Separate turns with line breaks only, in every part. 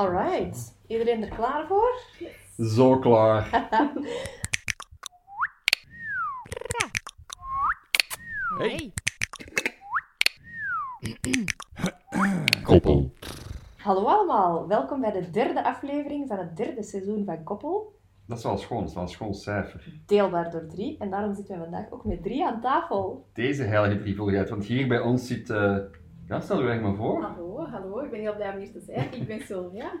Alright, iedereen er klaar voor?
Zo klaar.
Hey.
Koppel.
Hallo allemaal, welkom bij de derde aflevering van het derde seizoen van Koppel,
Dat is wel schoon, dat is wel een schoon cijfer.
deelbaar door drie. En daarom zitten we vandaag ook met drie aan tafel.
Deze heilige drievoeligheid, want hier bij ons zit... eh, Ja, stel u echt maar voor.
Oh, Hallo, hallo, ik ben heel blij om hier te zijn. Ik ben Sylvia.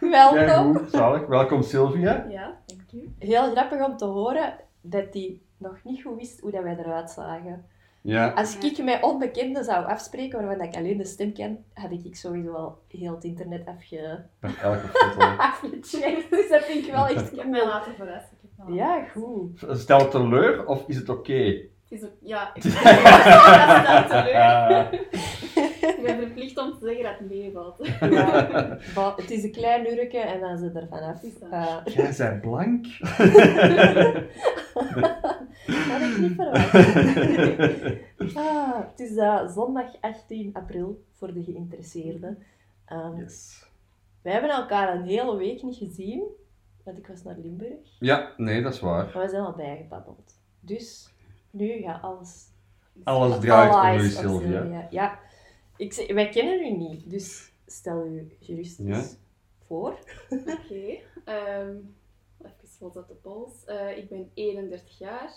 Welkom.
goed, zalig. Welkom Sylvia.
Ja, dank u.
Heel grappig om te horen dat die nog niet goed wist hoe dat wij eruit zagen.
Ja,
Als ik mij onbekenden zou afspreken waarvan ik alleen de stem ken, had ik sowieso al heel het internet afge...
bij elke foto.
afgecheckt. Dus dat vind ik wel echt...
Ik heb mij laten verrassen. Ik heb mij laten-
Ja, goed.
Stel het teleur of is het oké?
Het is ook, ja, ik ben teleur. Ik ben verplicht om te zeggen dat het meevalt.
Ja. Wel, het is een klein uurtje en dan zit er vanaf.
Is dat?
Eh,
Jij bent blank.
Dat had ik niet verwacht. ah, het is eh, zondag 18 april voor de geïnteresseerden. Ehm,
yes.
Wij hebben elkaar een hele week niet gezien, want ik was naar Limburg.
Ja, nee, dat is waar.
Maar we zijn al bijgebabbeld. Dus nu gaat alles.
Alles draait
All
om
eyes
u,
op
Sylvia.
Ja, ik, zeg- wij kennen u niet, dus stel u gerust eens voor.
Oké, ehm, even vlot op de pols. Eh, ik ben 31 jaar.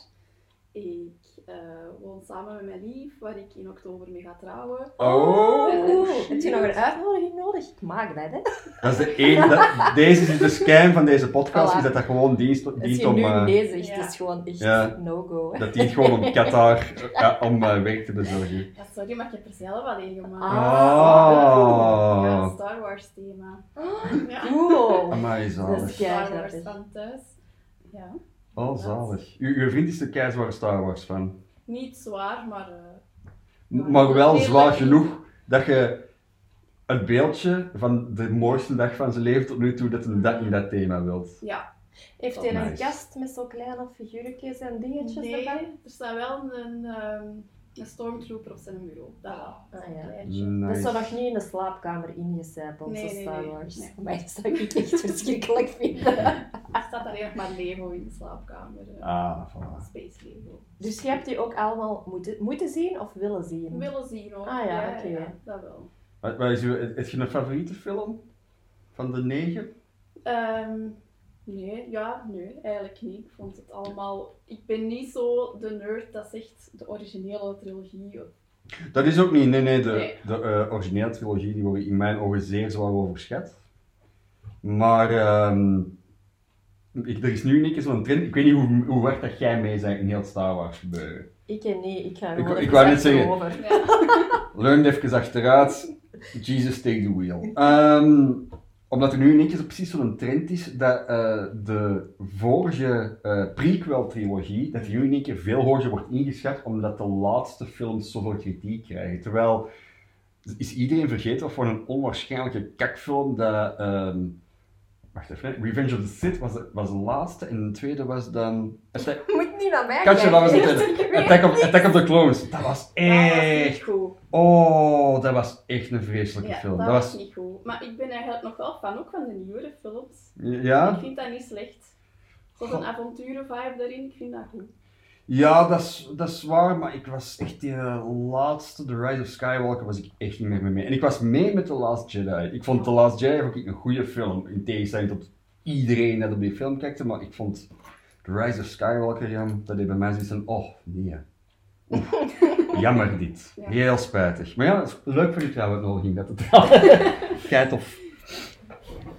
Ik eh, woon samen met mijn lief, waar ik in oktober mee ga trouwen.
Oh!
Oeh, Eh, Heb je nog een uitnodiging nodig? Ik maak dat, hè?
Dat is de ene, dat- deze is de scam van deze podcast,
Voilà.
is dat dat gewoon dienst,
Als
dienst
je
om...
nu
eh,
nee zegt,
ja.
is gewoon echt
Ja.
no-go. hè.
Dat dient gewoon om Qatar eh, om eh, werk te bezorgen.
Ja, sorry, maar ik heb er zelf al een gemaakt.
Ah.
Ja, een Star Wars thema.
Ah.
Ja.
Cool!
Amai, zalig.
Ja,
Star Wars
grappig.
van thuis. Ja.
Oh, zalig. U, uw vriend is de keizer Star Wars fan.
Niet zwaar, maar. eh,
M- Maar wel
Heel
zwaar
leuk.
genoeg dat je het beeldje van de mooiste dag van zijn leven tot nu toe, dat je dat in dat thema wilt.
ja.
Heeft hij een
Oh, Nice.
kast met zo kleine figuurtjes en dingetjes
Nee,
erbij?
er staat wel een, ehm, een stormtrooper op zijn bureau. Dat eh, wel. Dat is
Ah, ja.
een kleintje.
Dat is zo
Nice.
nog niet in de slaapkamer ingecijpeld,
Nee,
zo
nee,
Star
nee,
Wars.
nee.
Maar dat zou ik echt verschrikkelijk vinden.
Er staat alleen nog maar Lego in de slaapkamer. eh.
Ah, voilà.
Space Lego.
Dus je hebt die ook allemaal moeten, moeten zien of willen zien?
Willen zien hoor.
Ah, ja, oké.
dat wel.
Wat, wat is uw, heb je een favoriete film? Van de negen?
Ehm, nee, ja, nee, eigenlijk niet. Ik vond het allemaal. Ik ben niet zo de nerd dat zegt de originele trilogie.
Dat is ook niet, nee, nee. De,
Nee.
de eh, originele trilogie, die worden in mijn ogen zeer zwaar overschat. Maar ehm, ik, er is nu niks zo'n trend. Ik weet niet hoe, hoe hard dat jij mee bent in heel het Star Wars gebeuren.
Ik en nee, ik ga
Ik-
gewoon even
ik wou net
zacht
zeggen.
over.
Ja,
Leun even achteruit. Jesus take the wheel. Ehm, omdat er nu in één keer zo precies zo'n trend is dat eh, de vorige eh, prequel-trilogie, dat die nu in één keer veel hoger wordt ingeschat, omdat de laatste films zoveel kritiek krijgen. Terwijl, is iedereen vergeten wat voor een onwaarschijnlijke kakfilm dat... ehm, wacht even, hè. Revenge of the Sith was de, was de laatste en de tweede was dan... Attack,
Je moet niet naar mij
Katje, dat was
kijken.
het Attack of, Attack of the Clones. Dat was
dat was
echt
niet goed.
Oh, dat was echt een vreselijke
Ja,
film.
dat
Dat was...
was niet goed. Maar ik ben eigenlijk nog wel fan ook van de nieuwere films. Ik
Ja?
vind dat niet slecht. Zo'n
Goh.
avonturen-vibe daarin, ik vind dat goed.
Ja, dat is, dat is waar, maar ik was echt die eh, laatste, The Rise of Skywalker, was ik echt niet meer mee. En ik was mee met The Last Jedi. Ik vond The Last Jedi ook een goede film, in tegenstelling tot iedereen dat op die film kijkte, maar ik vond The Rise of Skywalker, ja, dat deed bij mij zoiets van, oh, nee. Oef, jammer dit.
Ja.
Heel spijtig. Maar ja, het is leuk voor je trouwens, dat het Kijk of...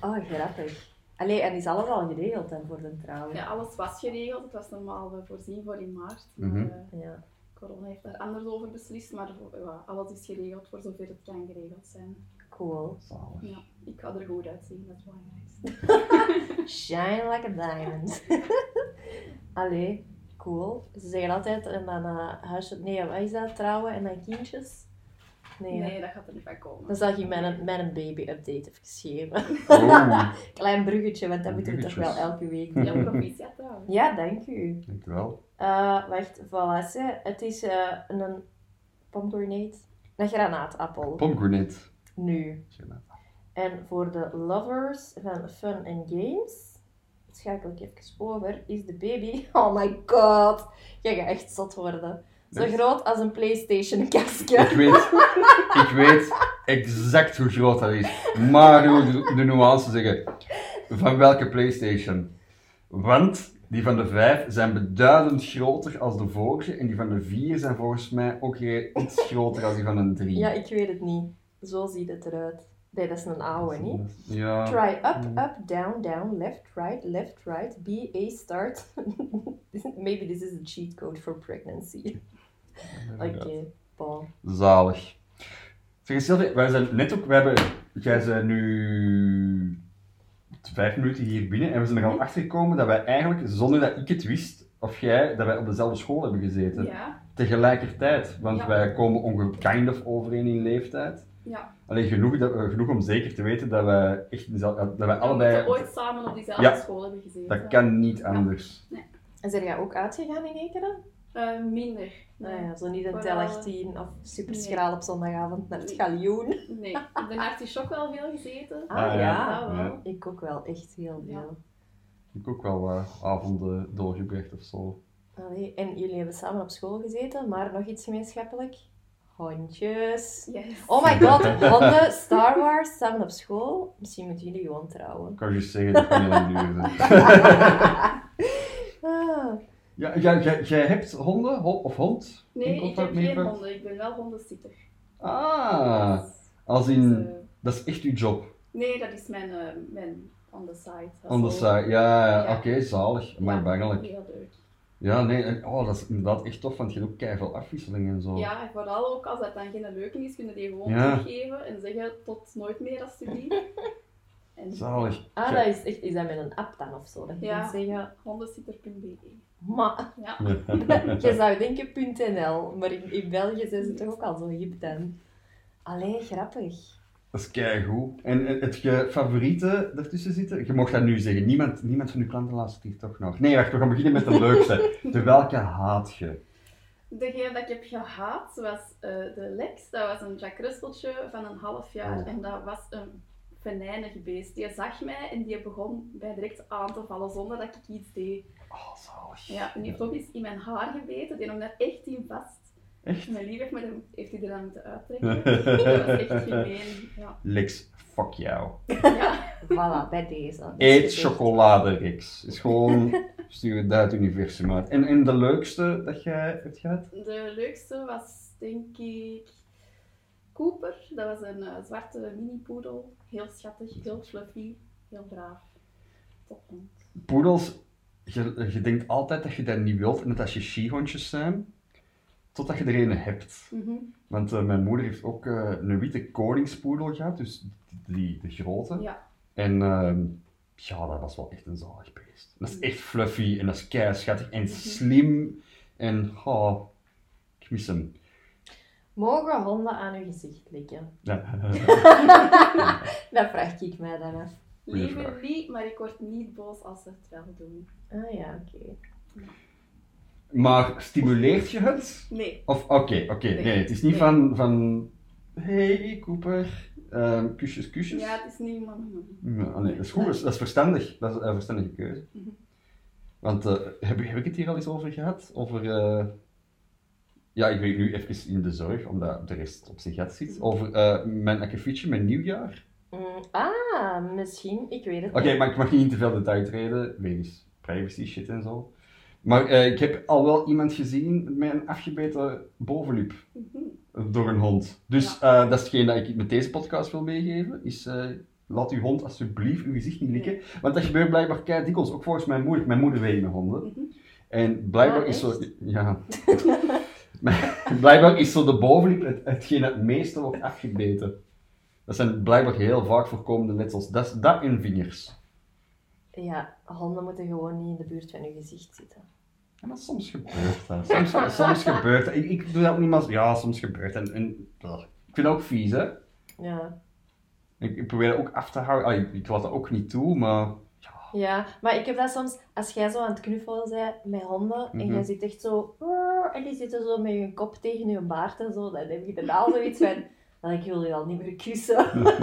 Oh, grappig. Allee, en is alles al geregeld dan voor de trouw?
Ja, alles was geregeld. Het was normaal eh, voorzien voor in maart. Maar,
Mhm.
eh,
Ja.
corona heeft daar anders over beslist. Maar eh, ja, alles is geregeld voor zover het kan geregeld zijn.
Cool.
Zalig.
Ja, ik ga er goed uitzien, dat is belangrijk.
Shine like a diamond. Allee, cool. Ze zeggen altijd, en dan eh, huisje... Nee, wat is dat? Trouwen en dan kindjes? Nee, hè.
Nee, dat gaat er niet van komen.
Dan zal ik je mijn, mijn baby-update even geven.
Oh,
Klein bruggetje, want dat moeten we toch wel
Bruggetjes.
elke week doen.
Heel proficiat trouwens.
Ja, dank u.
dankjewel.
Eh, wacht, voilà. ze. Het is eh, een pomegranate. Een granaatappel.
Pomegranate.
Nu. En voor de lovers van Fun and Games, schakel ik even over, is de baby. Oh my god, je gaat echt zot worden. Zo
Echt?
groot als een PlayStation-kastje.
Ik weet, ik weet exact hoe groot dat is. Maar ik wil de- de nuance zeggen. Van welke PlayStation? Want die van de 5 zijn beduidend groter als de vorige. En die van de 4 zijn volgens mij ook re- iets groter als die van een 3.
Ja, ik weet het niet. Zo ziet het eruit. Nee, dat is een oude, niet?
Ja.
Try up,
Mm.
up, down, down, left, right, left, right, B, A, start. Maybe this is a cheat code for pregnancy. Oké, Paul.
Zalig. Zeg eens, Sylvie, wij zijn net ook, wij hebben, jij zijn nu vijf minuten hier binnen en we zijn er al achter gekomen dat wij eigenlijk, zonder dat ik het wist, of jij, dat wij op dezelfde school hebben gezeten.
Ja,
Tegelijkertijd, want
Ja.
wij komen ongeveer kind of overeen in leeftijd.
ja.
Alleen genoeg, dat, eh, genoeg om zeker te weten dat wij, echt, dezelfde- dat wij
We moeten
allebei,
ooit samen op diezelfde
Ja.
school hebben gezeten.
dat kan niet anders.
En zijn jij ook uitgegaan in Ekeren?
Eh, minder.
Nou
Nee.
ja, zo niet een
Vooral-
tel 18 of super schraal op zondagavond naar het galjoen.
nee. De artichok wel veel gezeten.
Ah,
Ah, ja.
ja.
Ja, wel.
Ja.
Ik ook wel echt heel
Ja.
veel.
Ik heb ook wel eh, avonden doorgebracht of zo.
Allee, en jullie hebben samen op school gezeten, maar nog iets gemeenschappelijk? Hondjes.
Yes.
Oh my god, honden, Star Wars, samen op school. Misschien moeten jullie gewoon trouwen.
Ik kan je zeggen, dat kan heel lang duren.
Ah,
Ja, jij, jij, jij hebt honden ho- of hond?
Nee, ik
contact
heb
met
geen
je?
honden. Ik ben wel hondensitter.
Ah,
Dus,
als in,
eh,
dat is echt uw job.
nee, dat is mijn, eh, mijn on the side.
On the
hustle.
side, ja, ja,
Ja.
oké, zalig, maar
Ja,
bangelijk.
Heel leuk.
Ja, nee, en- oh, dat is inderdaad echt tof, want je hebt ook keihard afwisseling en zo.
Ja, en vooral ook als dat dan geen leuke is, kunnen die gewoon
Oh. Ja.
teruggeven en zeggen tot nooit meer als studie. en
Zalig.
ah,
Ja.
dat is echt, is dat met een app dan of zo? Dat je
Ja.
kunt zeggen,
hondensitter.be.
maar,
E. Ja.
je zou denken .nl, maar in, in België zijn ze toch ook al zo hip dan. Allee, grappig.
Dat is keigoed. En eh, heb je favoriete ertussen zitten? Je mag dat nu zeggen, niemand, niemand van uw klanten luistert hier toch nog. Nee, wacht, we gaan beginnen met de leukste. De welke haat je?
Degene dat ik heb gehaat was eh, de Lex. Dat was een Jack Russelltje van een half jaar.
Oh.
En dat was een venijnig beest. Die zag mij en die begon mij direct aan te vallen zonder dat ik iets deed.
Oh, zalig.
Ja, en die heeft ook eens in mijn haar gebeten. Die nam daar echt in vast.
Echt?
Mijn lief heeft, met hem, heeft die er dan moeten uittrekken. dat was echt gemeen. Ja.
Lex, fuck jou.
ja.
Voilà, bij deze. Dat is
Eet
gezegd.
chocolade, Rix. Is gewoon stuur het uit het universum uit. En, en de leukste dat jij hebt gehad?
De leukste was denk ik Cooper. Dat was een eh, zwarte mini-poedel. Heel schattig, heel fluffy, heel braaf. Tophond.
Poedels, je, je denkt altijd dat je dat niet wilt en dat dat chichi-hondjes zijn, totdat je er een hebt.
Mhm.
Want eh, mijn moeder heeft ook eh, een witte koningspoedel gehad, dus die, de grote.
Ja.
En ehm, ja, dat was wel echt een zalig beest. Dat is echt fluffy en dat is kei schattig en slim. En oh, ik mis hem.
Mogen honden aan uw gezicht likken?
Ja.
Dat vraag ik mij dan af.
Goeie
Liever
vraag.
niet, maar ik word niet boos als ze het wel doen.
Ah ja, oké.
Maar stimuleert je het?
Nee.
Of oké, oké, nee.
Nee.
het is niet
Nee.
van, van hey Cooper, ehm, kusjes, kusjes.
Ja, het is niet maar
Ja, ah, nee, dat is goed, dat is- dat is verstandig, dat is een verstandige keuze.
Mhm.
Want eh, heb, heb ik het hier al eens over gehad? Over, eh, ja, ik weet nu even in de zorg, omdat de rest op zijn gat zit, over eh, mijn akkefietje, mijn nieuwjaar.
Mm, ah, misschien. Ik weet het
Oké, maar ik mag niet in te veel detail treden, wegens privacy shit en zo. Maar eh, ik heb al wel iemand gezien met een afgebeten bovenlip.
Mhm.
door een hond. Dus eh, dat is hetgeen dat ik met deze podcast wil meegeven, is eh, laat uw hond alsjeblieft uw gezicht niet likken. Want dat gebeurt blijkbaar kei dikwijls, ook volgens mijn moeder. Mijn moeder weet met honden. En blijkbaar
Mhm. Ah,
is zo...
echt?
Ja. blijkbaar is zo de bovenlip het, hetgeen dat het meeste wordt afgebeten. Dat zijn blijkbaar heel vaak voorkomende letsels. Dat, is- dat en vingers.
Ja, honden moeten gewoon niet in de buurt van uw gezicht zitten.
Ja, maar soms gebeurt dat. Soms, soms gebeurt dat. Ik, ik doe dat ook niet, maar ja, soms gebeurt dat. En, en, ik vind dat ook vies, hè.
Ja.
Ik, ik probeer dat ook af te houden. Ah, ik, ik laat dat ook niet toe, maar... Ja.
ja, maar ik heb dat soms, als jij zo aan het knuffelen bent met honden en
Mhm.
jij zit echt zo, en die zitten zo met je kop tegen je "Ah, baard en zo, dan heb je daarna al zoiets van, dat ik wil je al niet meer kussen.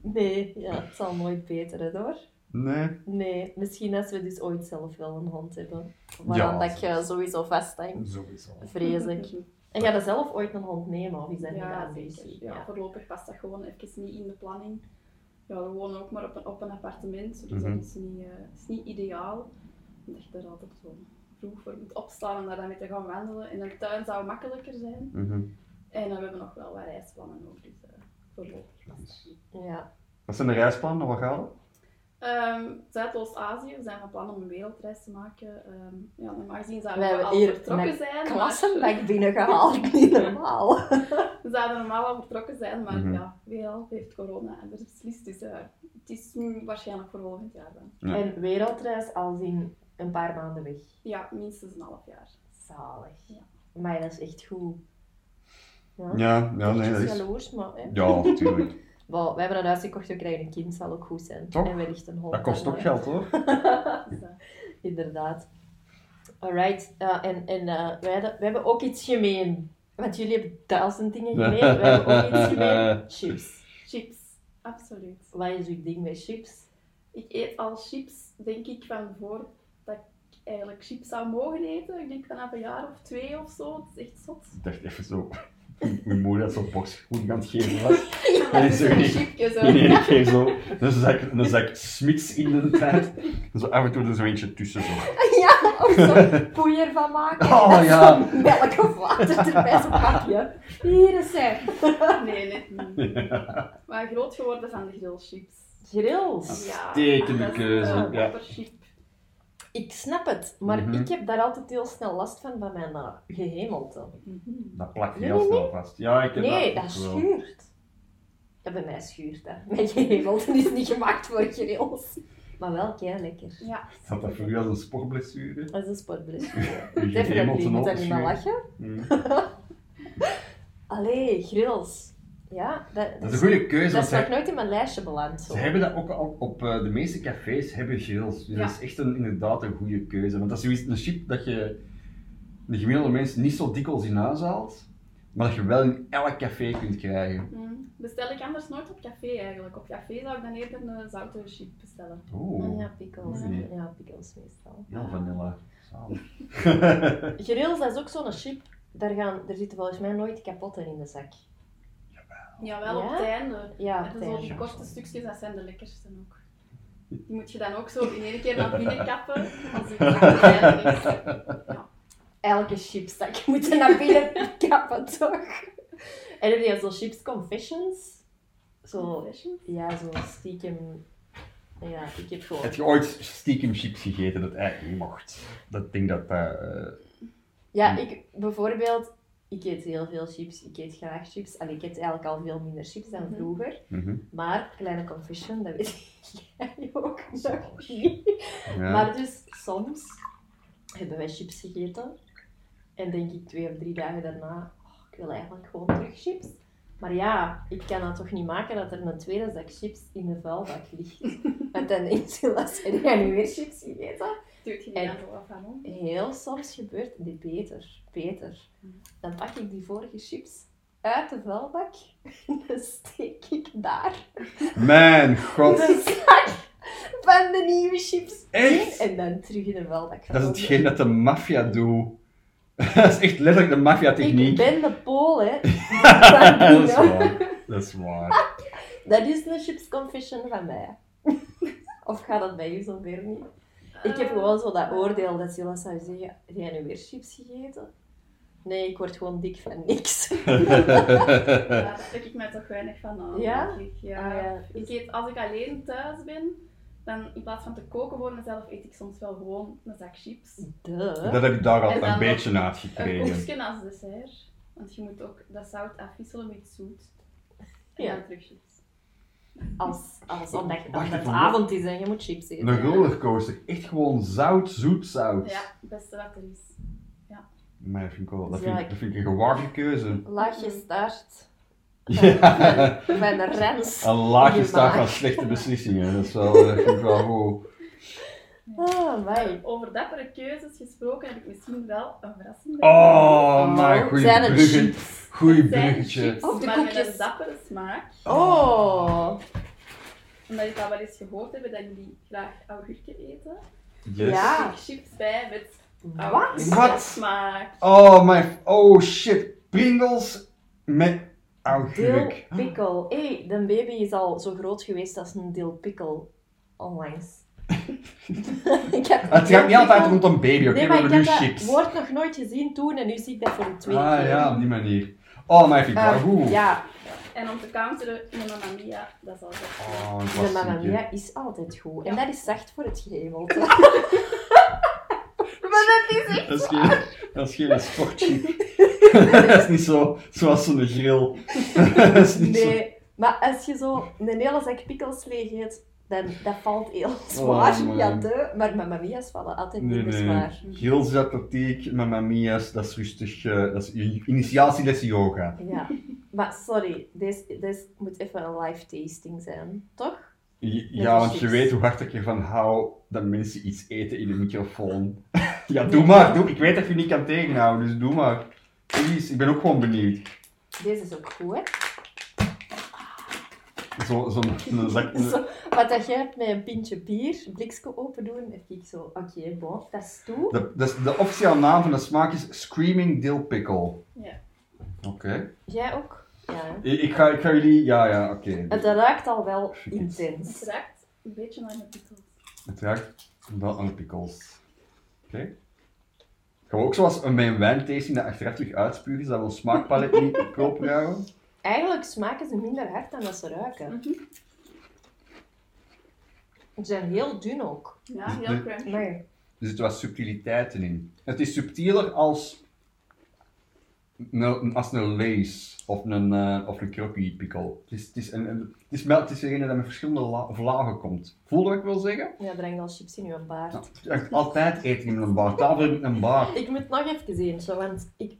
Nee, ja, het zal nooit beteren hoor.
Nee.
Nee, misschien als we dus ooit zelf wel een hond hebben.
Ja,
Waaraan dat je
zelfs.
sowieso vasthangt,
Sowieso.
vrees ik. En ga je zelf ooit een hond nemen of is dat niet
Ja,
aan
zeker.
ambitie?
Ja. Voorlopig past dat gewoon even niet in de planning. Ja, we wonen ook maar op een, op een appartement, dus
Mhm.
dat is niet, eh, is niet ideaal. Omdat je daar altijd zo vroeg voor moet opstaan om daar dan mee te gaan wandelen. En een tuin zou makkelijker zijn.
Mhm.
En eh, we hebben nog wel wat reisplannen ook, dus eh, voorlopig past dat niet.
Ja.
Wat zijn de reisplannen? Waar gaan we?
Ehm, Zuidoost-Azië, we zijn van plan om een wereldreis te maken. Ehm, ja, normaal gezien
We
zouden we,
hebben
al
hier
vertrokken
met
zijn. maar-
Klassenbak binnengehaald, niet normaal.
We zouden normaal al vertrokken zijn, maar
Mhm.
ja, weer al heeft corona en dat is beslist. Dus eh, het is mm, waarschijnlijk voor volgend jaar dan.
Ja.
En wereldreis al in een paar maanden weg.
Ja, minstens een half jaar.
Zalig.
Ja.
Maar dat is echt goed. Ja,
Ja, ja, nee, dat
Eventjes
is...
jaloers, maar... Hè.
Ja, natuurlijk.
Wel, we hebben een huis gekocht, we krijgen een kind, zal ook goed zijn.
Toch?
En wellicht een hond.
Dat kost
dan,
ook
hè.
geld hoor.
Dus, eh,
Inderdaad. Alright, eh, en, en eh, wij hadden- we hebben ook iets gemeen. Want jullie hebben duizend dingen gemeen, wij hebben ook iets gemeen. Chips.
chips, absoluut.
Wat is uw ding met chips?
Ik eet al chips, denk ik, van voor dat ik eigenlijk chips zou mogen eten. Ik denk vanaf een jaar of twee of zo. Het is echt zot.
Ik dacht even zo... Mijn moeder had zo'n box goed aan het geven was.
Ja,
dat
dat
is
is een
niet.
chipje zo.
In één keer zo. Een zak, een zak smits in de tijd. En zo af en toe er zo eentje tussen zo.
Ja, of zo'n poeier van maken. en
Oh,
dan
ja.
zo'n Melk of water erbij, zo'n pakje. Hier is hij.
Nee, net niet. Maar groot geworden van de grillchips.
Grills.
Ja,
Uitstekende
dat is
keuze,
een
ja.
opperchip.
Ik snap het, maar
Mhm.
ik heb daar altijd heel snel last van bij mijn eh, gehemelte.
Mhm.
Dat plakt je
Nee,
heel
nee,
snel vast. Ja, ik heb
Nee,
dat
dat
ook wel.
schuurt. Ja, bij mij schuurt dat. Mijn gehemelte is niet gemaakt voor grills. Maar wel kei lekker.
Ja.
Had dat voor u als een sportblessure?
Dat is een sportblessure.
Uw
Definitely,
gehemelte
je moet daar
ook
niet mee
schuren?
lachen.
Mm.
Allee, grills. Ja, dat,
Dat is een goede keuze,
Dat
want
is
zij-
nog nooit in mijn lijstje beland. Zo.
Ze hebben dat ook al op eh, de meeste cafés hebben grills. Dus
Ja.
dat is echt een, inderdaad een goede keuze. Want dat is zoiets, een chip dat je de gemiddelde mens niet zo dikwijls in huis haalt, maar dat je wel in elk café kunt krijgen.
Mm. Bestel ik anders nooit op café eigenlijk. Op café zou ik dan eerder een zoutere chip bestellen.
Oeh,
Ah, Ja, pickles.
Nee.
Ja, pickles meestal.
ja, Oh, vanilla. Zalig.
Grills, dat is ook zo'n chip. Daar, gaan, daar zitten volgens mij nooit kapotten in de zak.
Jawel,
Ja?
op het einde.
Ja,
En zo
fijn.
die
Ja,
korte
zo.
stukjes, dat zijn de lekkerste ook. Die moet je dan ook zo in één keer naar binnen kappen. Als ik ja,
elke chipstak moet je naar binnen kappen, toch? En dan heb je zo chips confessions. Zo, ja, zo stiekem. Ja, ik heb gewoon...
Heb je ooit stiekem chips gegeten dat eigenlijk niet mocht? Dat ding dat... eh, eh,
Ja, ik bijvoorbeeld, ik eet heel veel chips, ik eet graag chips. Allee, ik eet eigenlijk al veel minder chips dan
Mhm.
vroeger.
mhm.
Maar, kleine confession, dat weet jij ook nog
Zalig.
niet.
Ja.
Maar dus soms hebben wij chips gegeten. En denk ik twee of drie dagen daarna, oh, ik wil eigenlijk gewoon terug chips. Maar ja, ik kan dat toch niet maken dat er een tweede zak chips in de vuilbak ligt. Want dan denkt ze, "Las, heb jij nu weer chips gegeten?
Stuurt je
En-
die dan zo af van om?
Heel soms gebeurt dit beter, beter. Dan pak ik die vorige chips uit de vuilbak en dan steek ik daar
Mijn god.
de zak van de nieuwe chips
Echt?
in en dan terug in de vuilbak. van
Dat is
onder.
hetgeen dat de maffia doet. dat is echt letterlijk de maffia-techniek.
Ik ben de Pool, hè.
dat is waar. Dat is waar.
Dat is een chips confession van mij. of gaat dat bij u zo ver niet? Ik
Eh,
heb gewoon zo dat oordeel dat Silla zou zeggen, heb jij nu weer chips gegeten? Nee, ik word gewoon dik van niks.
Ja, daar trek ik mij toch weinig van aan.
Ja?
denk ik.
Ah,
ja.
ja.
Ik eet, als ik alleen thuis ben, dan in plaats van te koken voor mezelf, eet ik soms wel gewoon een zak chips.
Duh.
Dat heb ik daar
En
al
dan
een beetje
Een
uitgekregen.
koekje als dessert. Want je moet ook dat zout afwisselen met zoet. En
Ja.
dan terug chips.
Als, als omdat omdat
Oh, Wacht
het
even,
avond is en je moet chips eten.
Een rollercoaster. Echt gewoon zout, zoet zout.
Ja, het beste wat er is.
Maar dat vind ik wel... Dat
Ja,
vind, ik-
ik-
dat vind ik een gewaagde keuze.
Laagje staart.
Ja.
Van de rens.
Een laagje
Je
staat
maag.
van slechte beslissingen. Dat, is wel, dat vind ik wel goed.
Oh, wij.
Over dappere keuzes gesproken heb ik misschien wel een verrassing.
Oh, maar
Oh,
goeie
zijn het
bruggen.
chips?
Goeie
Het zijn
bruggetje.
chips,
Of de
maar met
koekjes.
een dappere smaak.
Oh.
omdat ik al wel eens gehoord heb dat jullie graag augurken eten.
Yes.
Ja.
Ik chips bij met Oh,
Wat?
Wat?
smaak.
Oh my, oh shit. Pringles met augurk.
Dill pickle. Hé, hey, de baby is al zo groot geweest als een dill pickle onlangs. ik heb
Ah, Het gaat niet altijd rond een baby, oké?
Nee,
we
maar ik
hebben nu
heb dat
chips.
woord nog nooit gezien toen en nu zie ik dat voor de tweede
Ah
keer.
ja, op die manier. Oh, maar vind ik wel
Maar,
goed.
Eh, ja,
En om te counteren, de Mamma Mia, dat is altijd goed.
Oh, een
de Mamma
klassieker.
Mia is altijd goed. En
Ja.
dat is zacht voor het gehemelte.
Maar dat is
Dat is geen, dat is geen sportje. dat is niet zo, zoals zo'n grill. dat is niet zo.
Nee, maar als je zo een hele zak pikkels leeg eet, dan dat valt heel zwaar.
Oh, man.
ja, de, maar Mamma Mia's vallen altijd
Nee,
minder
nee.
zwaar.
Grillsatletiek, mamma mia's, dat is rustig. eh, dat is in- initiatieles yoga.
Ja, maar sorry, deze, deze moet even een live tasting zijn, toch?
J-
Met
Ja,
de
want je
chips.
weet hoe hard ik ervan hou dat mensen iets eten in de microfoon. ja,
Nee.
doe maar. Doe. Ik weet dat je niet kan tegenhouden, dus doe maar. Please, ik ben ook gewoon benieuwd.
Deze is ook goed, hè?
Zo- Zo'n een zak.
Zo, wat dat jij hebt met een pintje bier, blikske open doen, heb ik zo, oké, bon, dat is toe.
De, dat is- de officiële naam van de smaak is Screaming Dill Pickle.
Ja.
Oké.
Jij ook? Ja. hè?
Ik, ik ga, ik ga jullie... Ja, ja, oké.
Het eh, ruikt al wel
Het
intens.
raakt een beetje naar de Beatles.
Het raakt wel aan de pickles. Oké. Gaan we ook zoals een mijn wijntasting dat achteraf terug uitspugen, zodat we ons smaakpalet niet koop Dus houden?
Eigenlijk smaken ze minder hard dan dat ze ruiken.
Mhm.
Ze zijn heel dun ook.
Ja,
Dus
heel crunchy.
Nee.
Er zitten wat subtiliteiten in. Het is subtieler als... een- Als een lace of een, eh of een croquis pickle. Het is, het is, een, een- het is, mel- het is degene dat met verschillende la- vlagen komt. Voel je wat ik wil zeggen?
Ja, breng al chips in je baard.
Ja, echt altijd eten in een bar. Tafel in een bar.
Ik moet nog even eentje, want ik,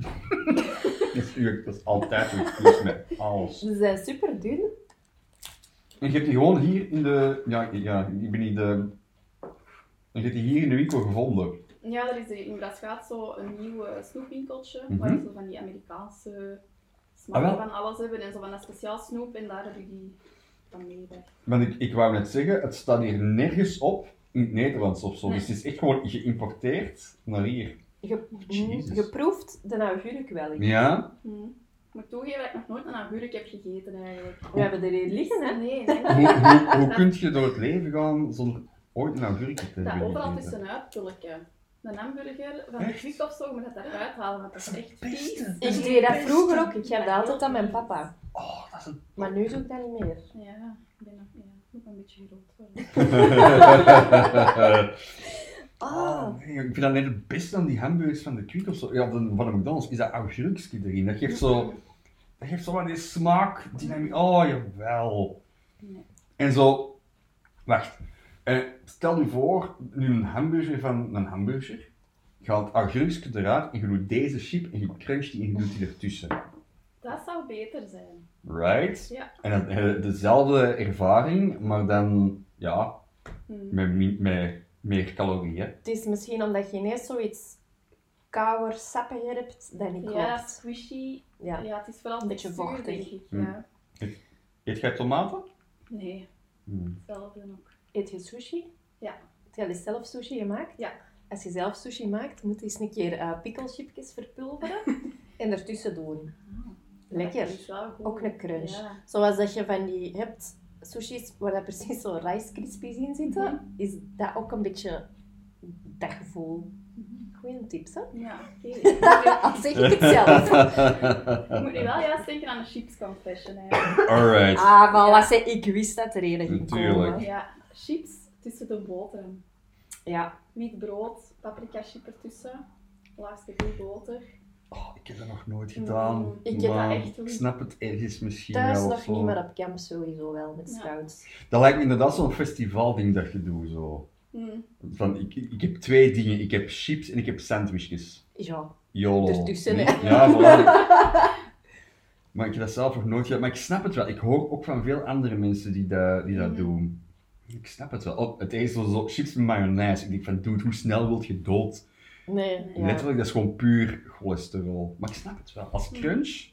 Dat is, dat is altijd een excuus met alles.
ze zijn super dun.
En je hebt die gewoon hier in de. Ja, ja ik ben niet de. En je hebt die hier in de winkel gevonden.
Ja, er is in Brasgaat zo een nieuw eh, snoepwinkeltje,
Mhm.
waar ze zo van die Amerikaanse smaak
Ah, wel.
van alles hebben en zo van dat speciaal snoep en daar heb ik die van meegebracht.
Want ik, ik wou net zeggen, het staat hier nergens op in het Nederlands of zo.
Nee.
Dus het is echt gewoon geïmporteerd naar hier.
Je,
Jezus.
geproefd de augurk wel.
Ja?
Hm. Ik moet toegeven dat ik nog nooit een augurk heb gegeten eigenlijk.
We hebben er hier liggen, hè?
Nee, nee.
Hoe, hoe, hoe kun je door het leven gaan zonder ooit een augurk te hebben?
dat overal
gegeten?
tussenuit pulken. Een hamburger van de
Echt?
kwik of zo, je moet dat eruit halen, want dat is echt vies.
Ik deed dat vroeger ook. Ik heb dat altijd aan mijn papa.
Oh, dat is een.
Maar nu doe ik dat niet meer.
Ja, ik ben nog ja, ik moet nog een beetje groot worden.
Ah,
nee, ik vind dat net het beste aan die hamburgers van de Kwik of zo. Ja, van van de McDonald's is dat augurkje erin. Dat geeft zo. Dat geeft zomaar die smaak, dynamiek. Oh, jawel.
Nee.
En zo, wacht. Eh, stel je voor, nu een hamburger van een hamburger. Je haalt augurkje eruit en je doet deze chip en je cruncht die en je doet die ertussen.
Dat zou beter zijn.
Right?
Ja.
En dan heb je dezelfde ervaring, maar dan, ja,
Hm.
met, min- met meer calorieën.
het is misschien omdat je ineens zoiets kouder, sappiger hebt dan ik
Ja,
had.
squishy. Ja.
Ja.
het is vooral
Een beetje
textuur, denk
vochtig.
ik,
Hm.
Ja.
Eet jij tomaten?
Nee,
Hmm.
hetzelfde ook.
Eet je sushi?
Ja.
Heb jij dus zelf sushi gemaakt?
Ja.
Als je zelf sushi maakt, moet je eens een keer eh pikkelchipjes verpulveren en ertussen doen.
Dat
Lekker.
is wel goed.
Ook een crunch.
Ja.
Zoals dat je van die hebt, sushis waar dat precies zo rice krispies in zitten, is dat ook een beetje dat gevoel. Goeie tips, hè?
Ja, oké.
Al zeg ik het zelf.
Ik moet nu wel juist denken aan een chips confession eigenlijk.
Alright.
Ah, voilà, zeg, ik wist dat er een ging
Natuurlijk.
komen.
Ja, chips tussen de boter.
Ja,
Wit brood, paprika chip ertussen. Laagste veel boter.
Oh, ik heb dat nog nooit gedaan.
Mm,
ik heb dat
maar
echt
Ik
niet.
snap het ergens misschien
thuis
wel. of
nog
zo.
niet, maar op camp sowieso wel, met
Ja.
scouts.
Dat lijkt me inderdaad zo'n festivalding dat je doet. Zo.
Hm.
Van, ik, ik ik heb twee dingen. Ik heb chips en ik heb sandwichjes.
Ja.
YOLO.
Ertussen,
Nee?
hè.
Ja, voilà. maar ik heb dat zelf nog nooit gedaan. Maar ik snap het wel. Ik hoor ook van veel andere mensen die dat, die
Mm.
dat
Mhm.
doen. Ik snap het wel. Oh, het is zo, zo chips met mayonaise. Ik denk van, dude, hoe snel wil je dood?
Nee, ja.
Letterlijk, dat is gewoon puur cholesterol. Maar ik snap het wel. Als
Mhm.
crunch...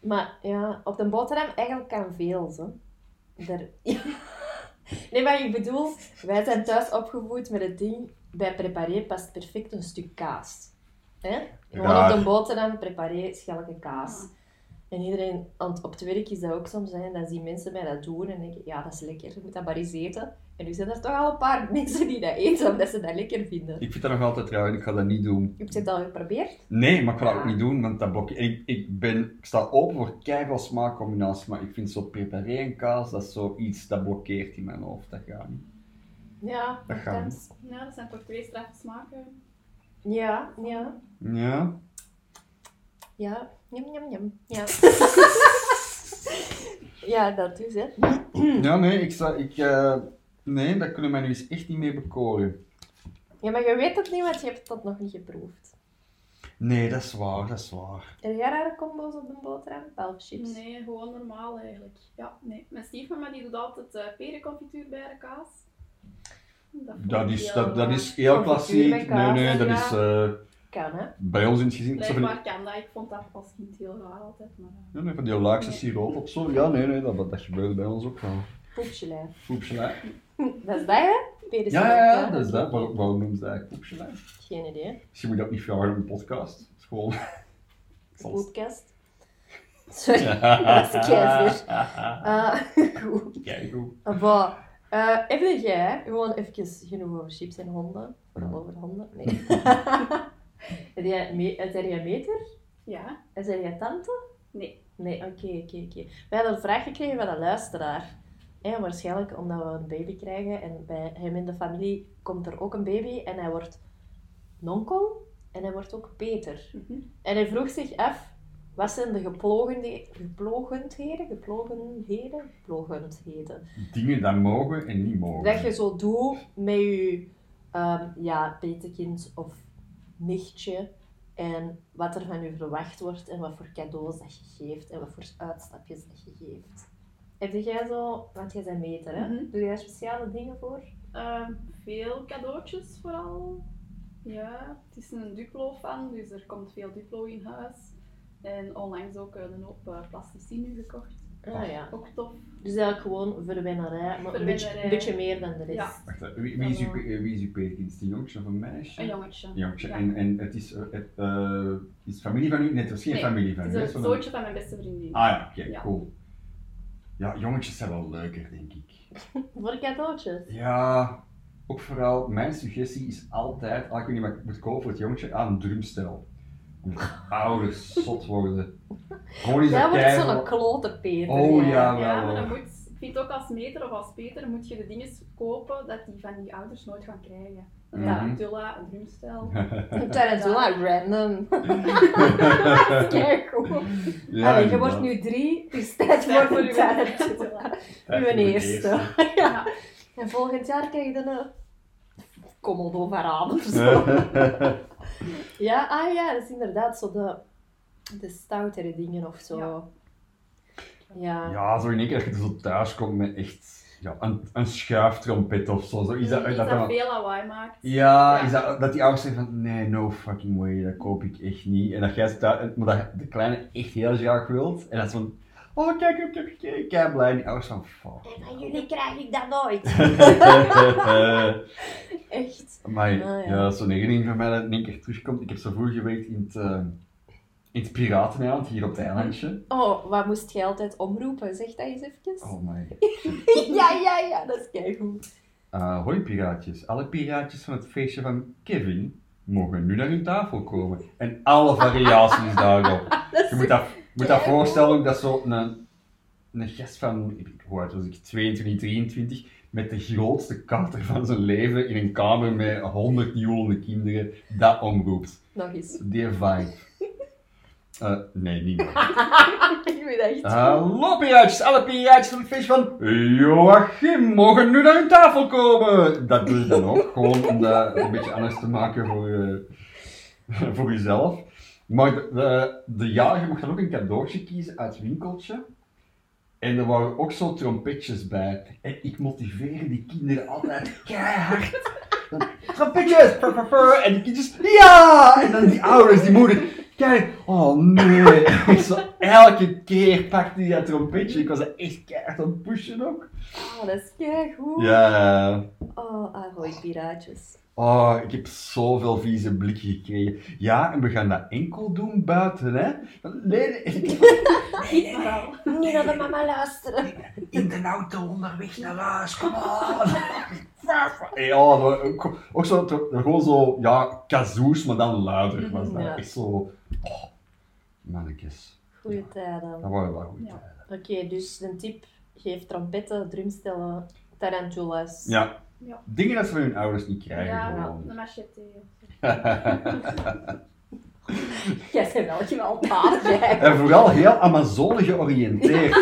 Maar ja, op de boterham eigenlijk kan veel, zo. Daar... Nee, maar ik bedoel, wij zijn thuis opgevoed met het ding, bij preparé past perfect een stuk kaas. Hè? Gewoon
Raar.
op de boterham, preparé, schelke kaas.
Ah.
En iedereen, want op het werk is dat ook soms, hè, dan zien mensen mij dat doen en denk ik, ja, dat is lekker, je moet dat maar eens eten. En nu zijn er toch al een paar mensen die dat eten, omdat ze dat lekker vinden.
Ik vind dat nog altijd raar en ik ga dat niet doen.
Heb je het al geprobeerd?
Nee, maar ik ga dat ook niet doen, want dat blokje... Ik, ik, ben, ik sta open voor keiveel smaakcombinaties, maar ik vind zo preparé en kaas, dat is zoiets dat blokkeert in mijn hoofd. Dat gaat niet.
Ja,
Dat gaat
nogthans.
Ja, Nou, dat zijn toch twee straffe smaken.
Ja, ja,
Ja?
ja. Jam, jam, jam. Ja. ja, dat dus, hè.
Ja, nee, ik sta... Ik, eh, nee, dat kunnen mij nu eens echt niet meer bekoren.
Ja, maar je weet het niet, want je hebt dat nog niet geproefd.
Nee, dat is waar, dat is waar.
Heb jij rare combo's op de boterham? Wel chips.
Nee, gewoon normaal eigenlijk. Ja, nee. Mijn stiefmama die doet altijd eh, perenconfituur bij de kaas. vond
Dat
ik
is,
heel,
dat, dat
eh,
is heel
Confituur met
klassiek. Nee, nee, dat is... eh,
Kan, hè?
bij ons in het gezin... zo van die-
Blijkbaar kan dat. Ik vond dat als kind heel raar altijd. Maar, eh,
Ja, nee, van die laagste siroop op zo. Ja, nee, nee, dat, dat gebeurde bij ons ook wel.
Poepselijn.
Poepselij.
Dat is dat, hè? Pedes-
Ja, ja, ja, dat is dat. Waarom, waarom noemen ze dat eigenlijk poepselij?
Geen idee.
Misschien moet je dat niet vragen in een podcast. Dat is gewoon... Soms.
Poepkast. Sorry, dat is keizer. Eh, goed.
Kijk hoe.
Bon. Eh even jij, gewoon even genoeg over chips en honden. Vooral over honden. Nee. Heb jij me- Zijn jij meter?
ja,
En Zijn jij tante?
nee.
Nee, oké, oké, oké. Wij hadden een vraag gekregen van een luisteraar. Ja, waarschijnlijk omdat we een baby krijgen en bij hem in de familie komt er ook een baby en hij wordt nonkel en hij wordt ook Peter.
Mhm.
En hij vroeg zich af, wat zijn de geplogende- geplogendheden, geplogenheden, geplogendheden,
Dingen dat mogen en niet mogen.
dat je zo doet met je ehm ja, petekind of nichtje en wat er van je verwacht wordt en wat voor cadeaus dat je geeft en wat voor uitstapjes dat je geeft. Heb jij zo, want jij bent meter, hè?
Mhm.
Doe jij daar speciale dingen voor?
Ehm, veel cadeautjes vooral. Ja, het is een Duplo-fan, dus er komt veel Duplo in huis. En onlangs ook eh, een hoop eh, plasticine gekocht.
Ah ja.
Ook tof.
Dus eigenlijk gewoon verwennerij, maar een beetje,
Verwennerij.
een beetje meer dan de rest.
Ja.
Wacht, hè, wie, wie is uw, eh, wie is uw peetkind? Is het een jongetje of een meisje?
Een jongetje.
Een jongetje.
Ja.
En, en het is, eh, het, eh, is het familie van u? Nee, het was geen
Nee,
familie van
Het
u.
is
hè,
een
zo'n-
zootje van mijn beste vriendin.
Ah ja, oké,
Ja.
cool. Ja, jongetjes zijn wel leuker, denk ik.
Voor cadeautjes.
Ja, ook vooral mijn suggestie is altijd, ah, ik weet niet maar ik moet kopen voor het jongetje, aan een drumstel. Omdat ouders zot worden. Gewoon eens
Jij
dat
wordt
keihard-
zo'n klote Peter.
Oh
jij.
ja, wel.
Ja, maar dan moet, ik vind ook als meter of als peter moet je de dingen kopen dat die van die ouders nooit gaan krijgen. Een
Ja.
tarantula, een drumstel.
Tarantula, random. Kijk goed.
Ja,
Allee, je
inderdaad.
wordt nu drie, het is tijd voor een tarantula.
Tijd
uw
voor de
eerste.
Ja.
En volgend jaar krijg je dan een Commodore Varaan of zo. ja, ah ja, dat is inderdaad zo de, de stoutere dingen of zo. Ja.
Ja.
ja, zo in één keer dat je zo thuis komt met echt ja, een, een schuiftrompet of zo. zo is dat,
Iets
dat dan-
dat veel lawaai maakt.
ja,
Ja.
Is dat, dat die ouders zeggen van nee, no fucking way, dat koop ik echt niet. En dat jij ze thuis, maar dat de kleine echt heel graag wilt. En dat is van, oh kijk, ik heb gekeken, kijk blij. En die ouders van, fuck.
En van jullie krijg ik dat nooit. Echt.
Maar
Ah, ja.
ja, dat is zo'n herinnering van mij dat in één keer terugkomt. Ik heb zo vroeger gewerkt in het, eh, in het Pirateneiland, hier op het eilandje.
Oh, wat moest jij altijd omroepen? Zeg dat eens even.
Oh my.
ja, ja, ja, dat is keigoed.
Eh, hoi piraatjes. Alle piraatjes van het feestje van Kevin mogen nu naar hun tafel komen. En alle variaties daarop.
Dat is
Je moet dat, moet dat voorstellen, dat zo'n een, een gast van, ik- hoe oud was ik, 22, 23, met de grootste kater van zijn leven in een kamer met 100 joelende kinderen, dat omroept.
nog eens.
Dear Vibe. Eh, nee, niet meer.
Ik weet echt.
Ah. Hallo piraatjes, alle piraatjes van het feestje van Joachim mogen nu naar hun tafel komen. Dat doe je dan ook, gewoon om dat een beetje anders te maken voor, eh, voor jezelf. Maar de, de, de jarige mocht dan ook een cadeautje kiezen uit het winkeltje. En er waren ook zo trompetjes bij. En ik motiveerde die kinderen altijd keihard trompetjes, purr, purr, purr. en die kindjes, ja! En dan die ouders, die moeder, Kijk, oh nee. Ik zo, elke keer pakte hij dat trompetje. Ik was er echt keihard aan het pushen ook.
Ah, dat is keigoed.
Ja, ja, ja.
Oh, ahoy piraatjes.
Oh, ik heb zoveel vieze blikken gekregen. Ja, en we gaan dat enkel doen buiten, hè? Nee, nee,
Niet vooral.
Niet naar de mama luisteren.
in de auto onderweg naar huis, kom on! Ja, maar ook- ook zo, toch, gewoon zo, ja, kazoes, maar dan
Mhm,
luider was dat.
Ja.
Echt zo, oh, mannetjes.
Goeie tijden.
Dat waren wel goede
Ja.
tijden.
Oké, dus een tip. Geef trompetten, drumstellen, tarantulas.
Ja.
Ja.
Dingen dat ze van hun ouders niet krijgen,
Ja, nou.
gewoon.
een machete.
Jij bent wel gewelddadig, jij.
En vooral heel Amazone georiënteerd.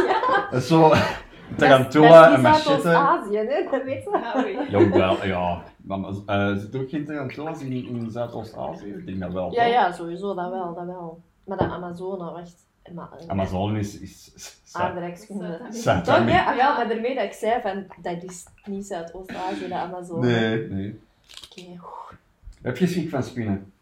Zo,
Dat
tarantula
is
en
iets uit
machette.
Oost-Azië, hè? dat weet je.
Ja, oei.
Jawel, ja. Maar, eh zit er ook geen tarantulas in, in Zuidoost-Azië? Ik denk dat wel.
Ja,
toch?
ja, sowieso, dat wel, dat wel. Maar de Amazone, wacht. Ma- eh,
Amazone is... is, is- is-
Aardrijkskunde.
Ah, Dat is
Zuid-
Toch,
Zuid-Amerika.
ja? Ah, wel, maar daarmee dat ik zei van, dat is niet Zuidoost-Azië, de Amazone.
Nee, nee.
Oké,
Heb je schrik van spinnen?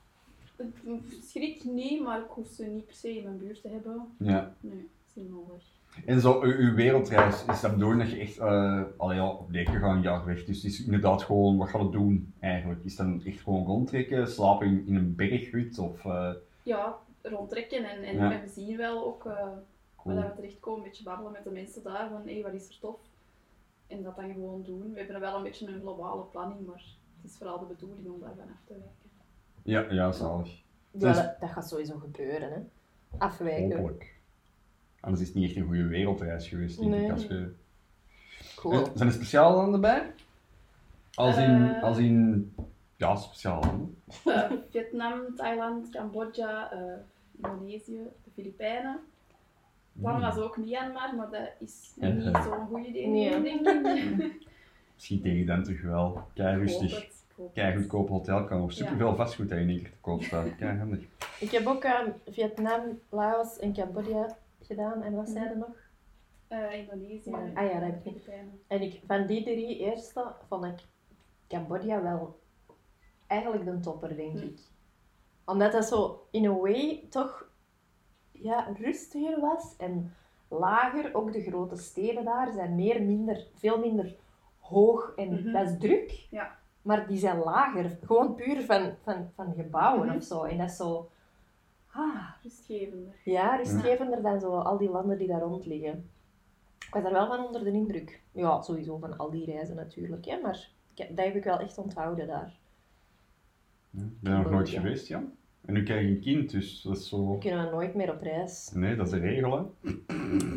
Ik Schrik niet, maar ik hoef ze niet per se in mijn buurt te hebben.
Ja.
Nee, dat is niet nodig.
En zo, uw, uw wereldreis, is dat bedoeld dat je echt... eh allee, ja, op de gaan een jaar weg. Dus het is inderdaad gewoon, wat gaan we doen eigenlijk? Is dan echt gewoon rondtrekken, slapen in, in een berghut of... eh,
Ja, rondtrekken en, en,
Ja.
en we zien wel ook eh
cool.
waar we terechtkomen. Een beetje babbelen met de mensen daar van hé, wat is er tof? En dat dan gewoon doen. We hebben wel een beetje een globale planning, maar het is vooral de bedoeling om daarvan af te wijken.
Ja, ja, zalig.
ja,
Dus- Oh,
dat, dat gaat sowieso gebeuren, hè. Afwijken.
Hopelijk. Anders is het niet echt een goede wereldreis geweest, denk
Nee.
ik. Als je... Eh,
Cool.
Zijn er speciale landen bij? Als in,
Eh.
als in... Ja, speciale landen.
Eh, Vietnam, Thailand, Cambodja, eh, Indonesië, de Filipijnen. Het plan was ook Myanmar, maar dat is niet
Hmm. Ja.
zo'n goed idee,
Nee.
denk ik.
Misschien tegen dan toch wel. Kei
Ik hoop
rustig.
het, ik hoop
Kei
het.
goedkoop hotelkamer. Superveel vastgoed dat in één keer te koop staat. Kei handig.
Ik heb ook aan Vietnam, Laos en Cambodja gedaan. En wat zei er nog?
Eh, Indonesië.
Ah ja, dat heb ik niet.
Filipijnen.
En ik, van die drie eerste vond ik Cambodja wel eigenlijk de topper, denk
Hm.
ik. Omdat dat zo, in a way, toch ja, rustiger was en lager. Ook de grote steden daar zijn meer, minder, veel minder hoog en
Mhm.
dat is druk.
Ja.
Maar die zijn lager. Gewoon puur van, van, van gebouwen
Mhm.
of zo. En dat is zo... Ah,
Rustgevender.
ja, rustgevender dan zo al die landen die daar rond liggen. Ik was daar wel van onder de indruk. Ja, sowieso van al die reizen natuurlijk, hè, maar ik heb- dat heb ik wel echt onthouden daar.
Ja, Ik ben er nog nooit
Ja.
geweest, ja. En nu krijg je een kind, dus dat is
We
zo...
kunnen nooit meer op reis.
Nee, dat is de regel, hè.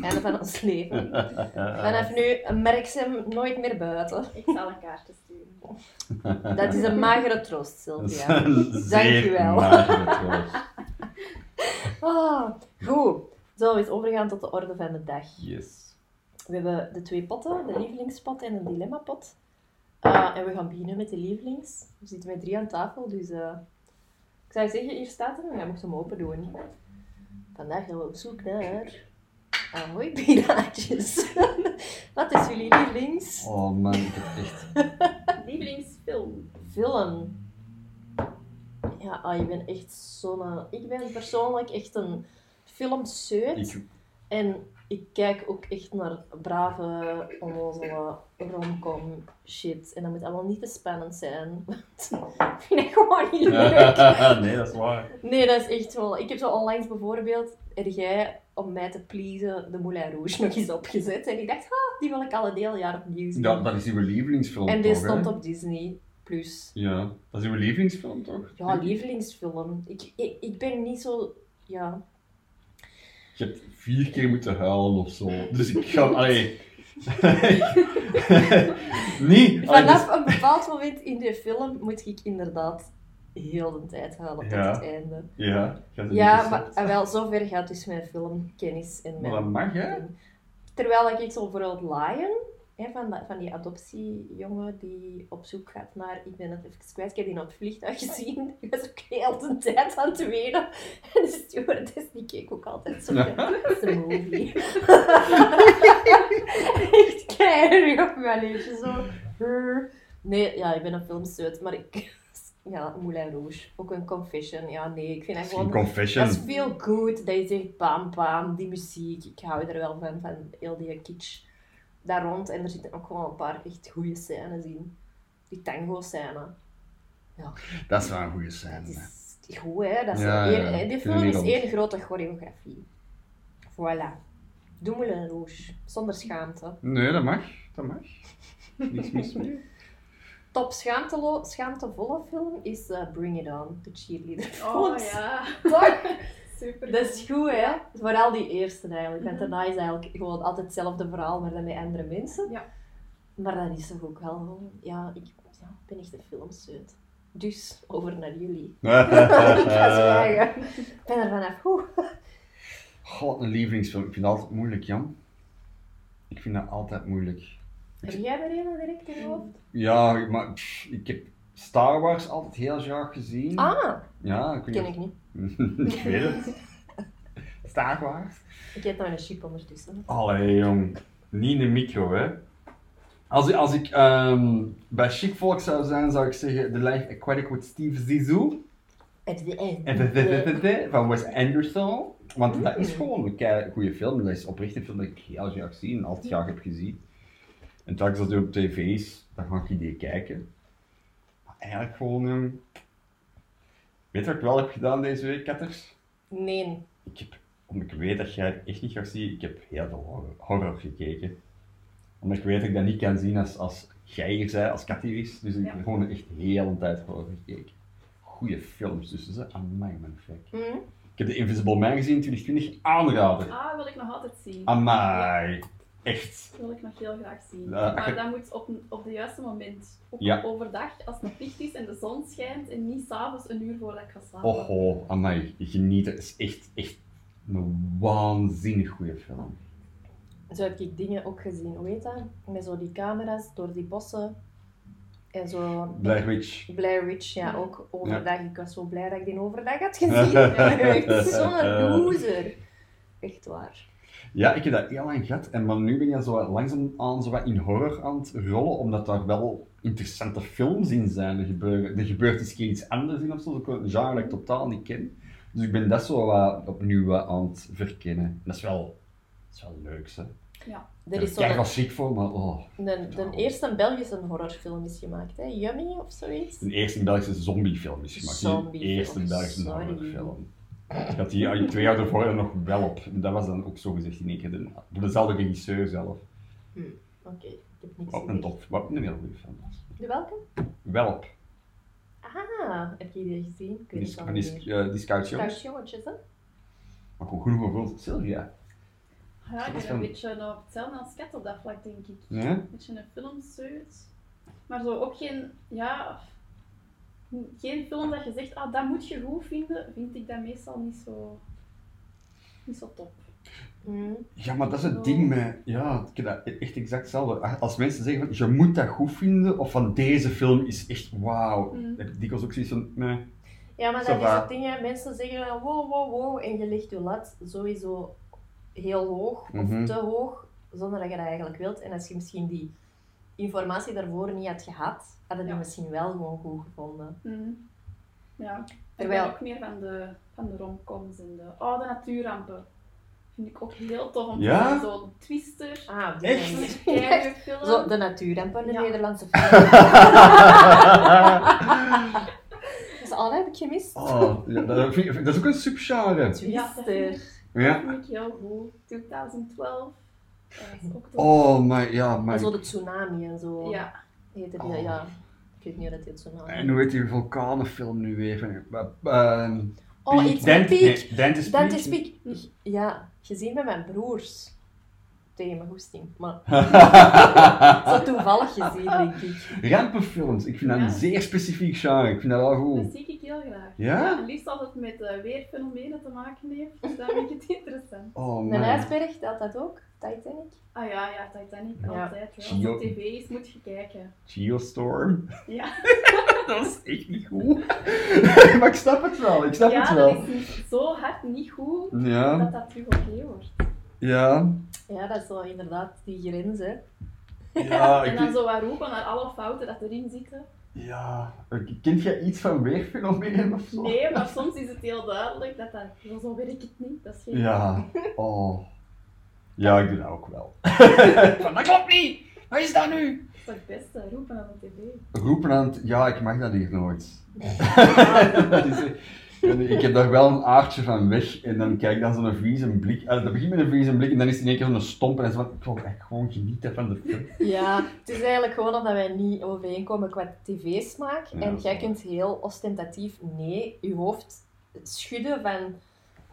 Einde van ons leven.
Eh,
Vanaf nu merk ze hem nooit meer buiten.
Ik zal een kaartje sturen.
Dat is een magere troost,
dat is
Sylvia.
een zeer
Dankjewel.
magere troost.
Ah, goed. Zo, eens overgaan tot de orde van de dag.
Yes.
We hebben de twee potten, de lievelingspot en de dilemmapot. pot. en we gaan beginnen met de lievelings. We zitten met drie aan tafel, dus eh, ik zou zeggen, hier staat hem en jij mocht hem open doen. Vandaag gaan we op zoek naar... Ahoy, piraatjes. Wat is jullie lievelings?
Oh man, ik heb echt...
Lievelingsfilm.
Film. Ja, ah, je bent echt zo'n... Ik ben persoonlijk echt een filmseut.
Ik,
En ik kijk ook echt naar brave, onnozele romcom shit. En dat moet allemaal niet te spannend zijn. Want ik vind ik gewoon niet leuk.
nee, dat is waar.
Nee, dat is echt wel... Ik heb zo onlangs bijvoorbeeld, er jij om mij te pleasen, de Moulin Rouge nog eens opgezet. En ik dacht, ha, die wil ik al een heel jaar opnieuw zien.
Ja, dat is uw lievelingsfilm,
en die
toch, hè?
stond op Disney+. Plus.
Ja, dat is uw lievelingsfilm, toch?
Ja, lievelingsfilm. Ik, ik, ik ben niet zo... Ja,
Je hebt vier keer moeten huilen of zo. Dus ik ga. Allee. niet. allee, dus-
Vanaf een bepaald moment in die film moet ik inderdaad heel de tijd huilen tot
Ja.
het einde.
dus- ja, ik had het
Ja,
niet
maar
gezegd.
ah, wel, zover gaat dus mijn filmkennis en
Maar
mijn...
dat mag, hè?
Terwijl dat ik zo vooral Lion, hè, van, dat- van die adoptiejongen die op zoek gaat naar... Ik ben het even kwijt, ik heb die op het vliegtuig gezien. Ik was ook heel de tijd aan het wenen. En de stewardess, die keek ook altijd zo.
Ja.
Dat is een movie. Echt keihard op mijn leefje, zo. Nee, ja, ik ben een filmseut, maar ik Ja, Moulin Rouge. Ook een confession. Ja, nee, ik vind dat
Dat is geen
gewoon...
confession.
Dat is veel goed. Dat is echt bam bam, die muziek. Ik hou er wel van, van heel die kitsch daar rond. En er zitten ook gewoon een paar echt goede scènes in. Die tango-scène.
Dat is wel een goede
Dat
scène. hè.
is goed, hè? Dat is
Ja, ja,
één-
ja.
Die
Ik
film
vind
is
het niet
één grote choreografie. Voilà. Doe Moulin Rouge. Zonder schaamte.
Nee, dat mag. Dat mag. Niks mis mee.
Top schaamtelo- schaamtevolle film is eh, Bring It On, de cheerleader.
Oh
Goed.
ja,
Toch?
super.
Dat is goed, hè? Vooral die eerste eigenlijk. Want daarna is eigenlijk gewoon altijd hetzelfde verhaal, maar dan met andere mensen.
Ja.
Maar dat is toch ook wel gewoon... Ja, ik ja, ik ben echt een filmseut. Dus, over naar jullie. ik
Eh,
ga zwijgen. Ik ben er vanaf. Oeh.
God, een lievelingsfilm. Ik vind dat altijd moeilijk, Jan. Ik vind dat altijd moeilijk.
Heb jij er helemaal direct in je hoofd?
Ja, maar pff, ik heb Star Wars altijd heel graag gezien.
Ah,
Ja, ik weet
ken
niet
ik niet.
of- ik weet het. Star Wars.
Ik eet nou een chip ondertussen.
Allee, jong. Niet in de micro, hè. Als, ik- als ik ehm, bij Chic Volk zou zijn, zou ik zeggen The Life Aquatic with Steve Zissou.
Het de
En de- de- de- de- de- van Wes Anderson. Want dat is gewoon een kei goede film. Dat is oprecht een film dat ik heel graag zie en altijd graag heb gezien. En telkens dat hij op tv is, dan ga ik die kijken. Maar eigenlijk gewoon... ehm, Weet je wat ik wel heb gedaan deze week, Katters?
Nee.
Ik heb, omdat ik weet dat jij het echt niet graag ziet, ik heb heel veel horror, horror gekeken. Omdat ik weet dat ik dat niet kan zien als, als jij hier zei, als Kat hier is. Dus ik heb
Ja.
gewoon echt heel een tijd horror gekeken. Goeie films tussen ze. Amai, man, fuck.
Hm?
Ik heb The Invisible Man gezien in 2020, aanrader.
Ah, wil ik nog altijd zien.
Amai. Echt.
wil ik nog heel graag zien.
Ja.
Maar dat moet op, op de juiste moment. Ook
Ja.
overdag, als het nog licht is en de zon schijnt. En niet s'avonds een uur voordat ik ga slapen.
Oho, Oh, amai. Je geniet. Het is echt, echt een waanzinnig goede film.
Zo heb ik dingen ook gezien. Hoe heet dat? Met zo die camera's door die bossen. En zo...
Blair Witch.
Blair Witch, ja,
Ja.
ook overdag. Ik was zo blij dat ik die overdag had gezien. Echt Zo'n loser. Echt waar.
Ja, ik heb dat heel lang gehad, en maar nu ben je zo wat langzaam aan zo wat in horror aan het rollen, omdat daar wel interessante films in zijn. Er gebeurt, er gebeurt eens een keer iets anders in of zo, ook een genre dat ik totaal niet ken. Dus ik ben dat zo wat opnieuw wat aan het verkennen. En Dat is wel, dat is wel leuk, hè.
Er is
ik krijg
zo'n...
wel schrik voor, maar oh.
De, de eerste Belgische horrorfilm is gemaakt, hè? Yummy of zoiets?
Een eerste Belgische zombiefilm is gemaakt, niet
Zombiefilm,
een eerste Belgische
sorry.
horrorfilm. Ik had die al- twee jaar ervoor nog wel op. En dat was dan ook zo gezegd in één keer de- door dezelfde regisseur zelf.
Oké, ik heb niks
Wat een
gezien.
top, wat een heel goede film was.
De welke?
Welp.
Ah, heb je die gezien? Ik weet
Die,
het al
van
niet
die,
meer.
eh, die scouts, jongens.
Thuis jongetjes, hè?
Maar gewoon genoeg over Sylvia.
Ja, ik
Dat is
ben een
dan-
beetje nou, hetzelfde als kat op dat vlak, denk ik.
Ja?
Een beetje een filmseut. Maar zo ook geen, ja, geen film dat je zegt, ah, dat moet je goed vinden, vind ik dat meestal niet zo, niet zo top.
Hm.
ja, maar dat is het ding met... Ja, ik heb dat e- echt exact hetzelfde. Ah, Als mensen zeggen van, je moet dat goed vinden, of van deze film is echt wauw.
Mm.
Heb ik dikwijls ook zoiets van, nee.
Ja, maar
Ça
dat is
va.
het ding, hè. mensen zeggen dan wow, wow, wow, en je legt je lat sowieso heel hoog of
Mhm.
te hoog, zonder dat je dat eigenlijk wilt. En als je misschien die informatie daarvoor niet had gehad, hadden die
Ja.
misschien wel gewoon goed gevonden.
Mm.
Terwijl-
Ja. Terwijl ook meer van de, van de romcoms en de oude natuurrampen. Vind ik ook heel tof om te
Ja?
zien. Zo'n twister,
Ah,
die Echt?
een keiharde film.
Zo, de natuurrampen, de
Ja.
Nederlandse film. Dus al heb ik gemist.
oh, ja, dat, vind ik- dat is ook een subgenre.
Ja, dat vind
Twister.
ik, dat
Ja.
vind ik heel goed. 2012. Dat is ook tof.
Oh, maar ja,
En
maar...
zo de tsunami en zo.
Ja,
Heette die,
Oh.
ja. Ik weet niet hoe dat heet, tsunami.
En hoe heet die vulkanenfilm nu eh, even? Uh,
oh, iets met piek.
Dentist
Dat
Peak.
is piek. Ja, gezien bij mijn broers. Tegen mijn goesting. Maar Zo toevallig gezien, denk ik.
Rampenfilms, ik vind dat een
Ja.
zeer specifiek genre, ik vind dat wel
dat
goed.
zie ik heel graag.
Ja?
het liefst als het met eh, weerfenomenen te maken heeft. Dus dan vind ik het interessant.
Oh
Mijn
man.
ijsberg telt dat ook, Titanic.
Ah ja, ja, Titanic
Ja.
altijd. Hè. Als
Gio-
het op tv is, moet je kijken.
Geostorm.
Ja,
Dat is echt niet goed. maar ik snap het wel, ik snap
ja
het
dat
wel.
is zo hard niet goed
Ja,
dat dat terug oké wordt.
ja.
Ja, dat is wel inderdaad die grens, hè.
Ja,
En
ik
dan
vind...
zo wat roepen naar alle fouten dat erin zitten.
Ja. eh, Kent jij iets van weerfenomenen of zo?
Nee, maar soms is het heel duidelijk dat dat... "Ja, Zo werkt het niet, dat is geen...
Ja. Oh. Ja, ik doe dat ook wel. van, dat klopt niet! Wat is dat nu?
Dat is toch het beste, roepen aan de tv.
Roepen aan het... Ja, ik mag dat hier nooit.
Ja.
Dat is, eh, ik heb daar wel een aardje van weg en dan kijk ik dan zo'n vieze blik. eh, dat begint met een vieze blik en dan is het in één keer zo'n stomp en dan is het van, ik wil echt gewoon genieten van de film.
Ja, het is eigenlijk gewoon omdat wij niet overeenkomen qua tv-smaak.
Ja,
en
dat is
jij
waar.
kunt heel ostentatief nee, je hoofd schudden van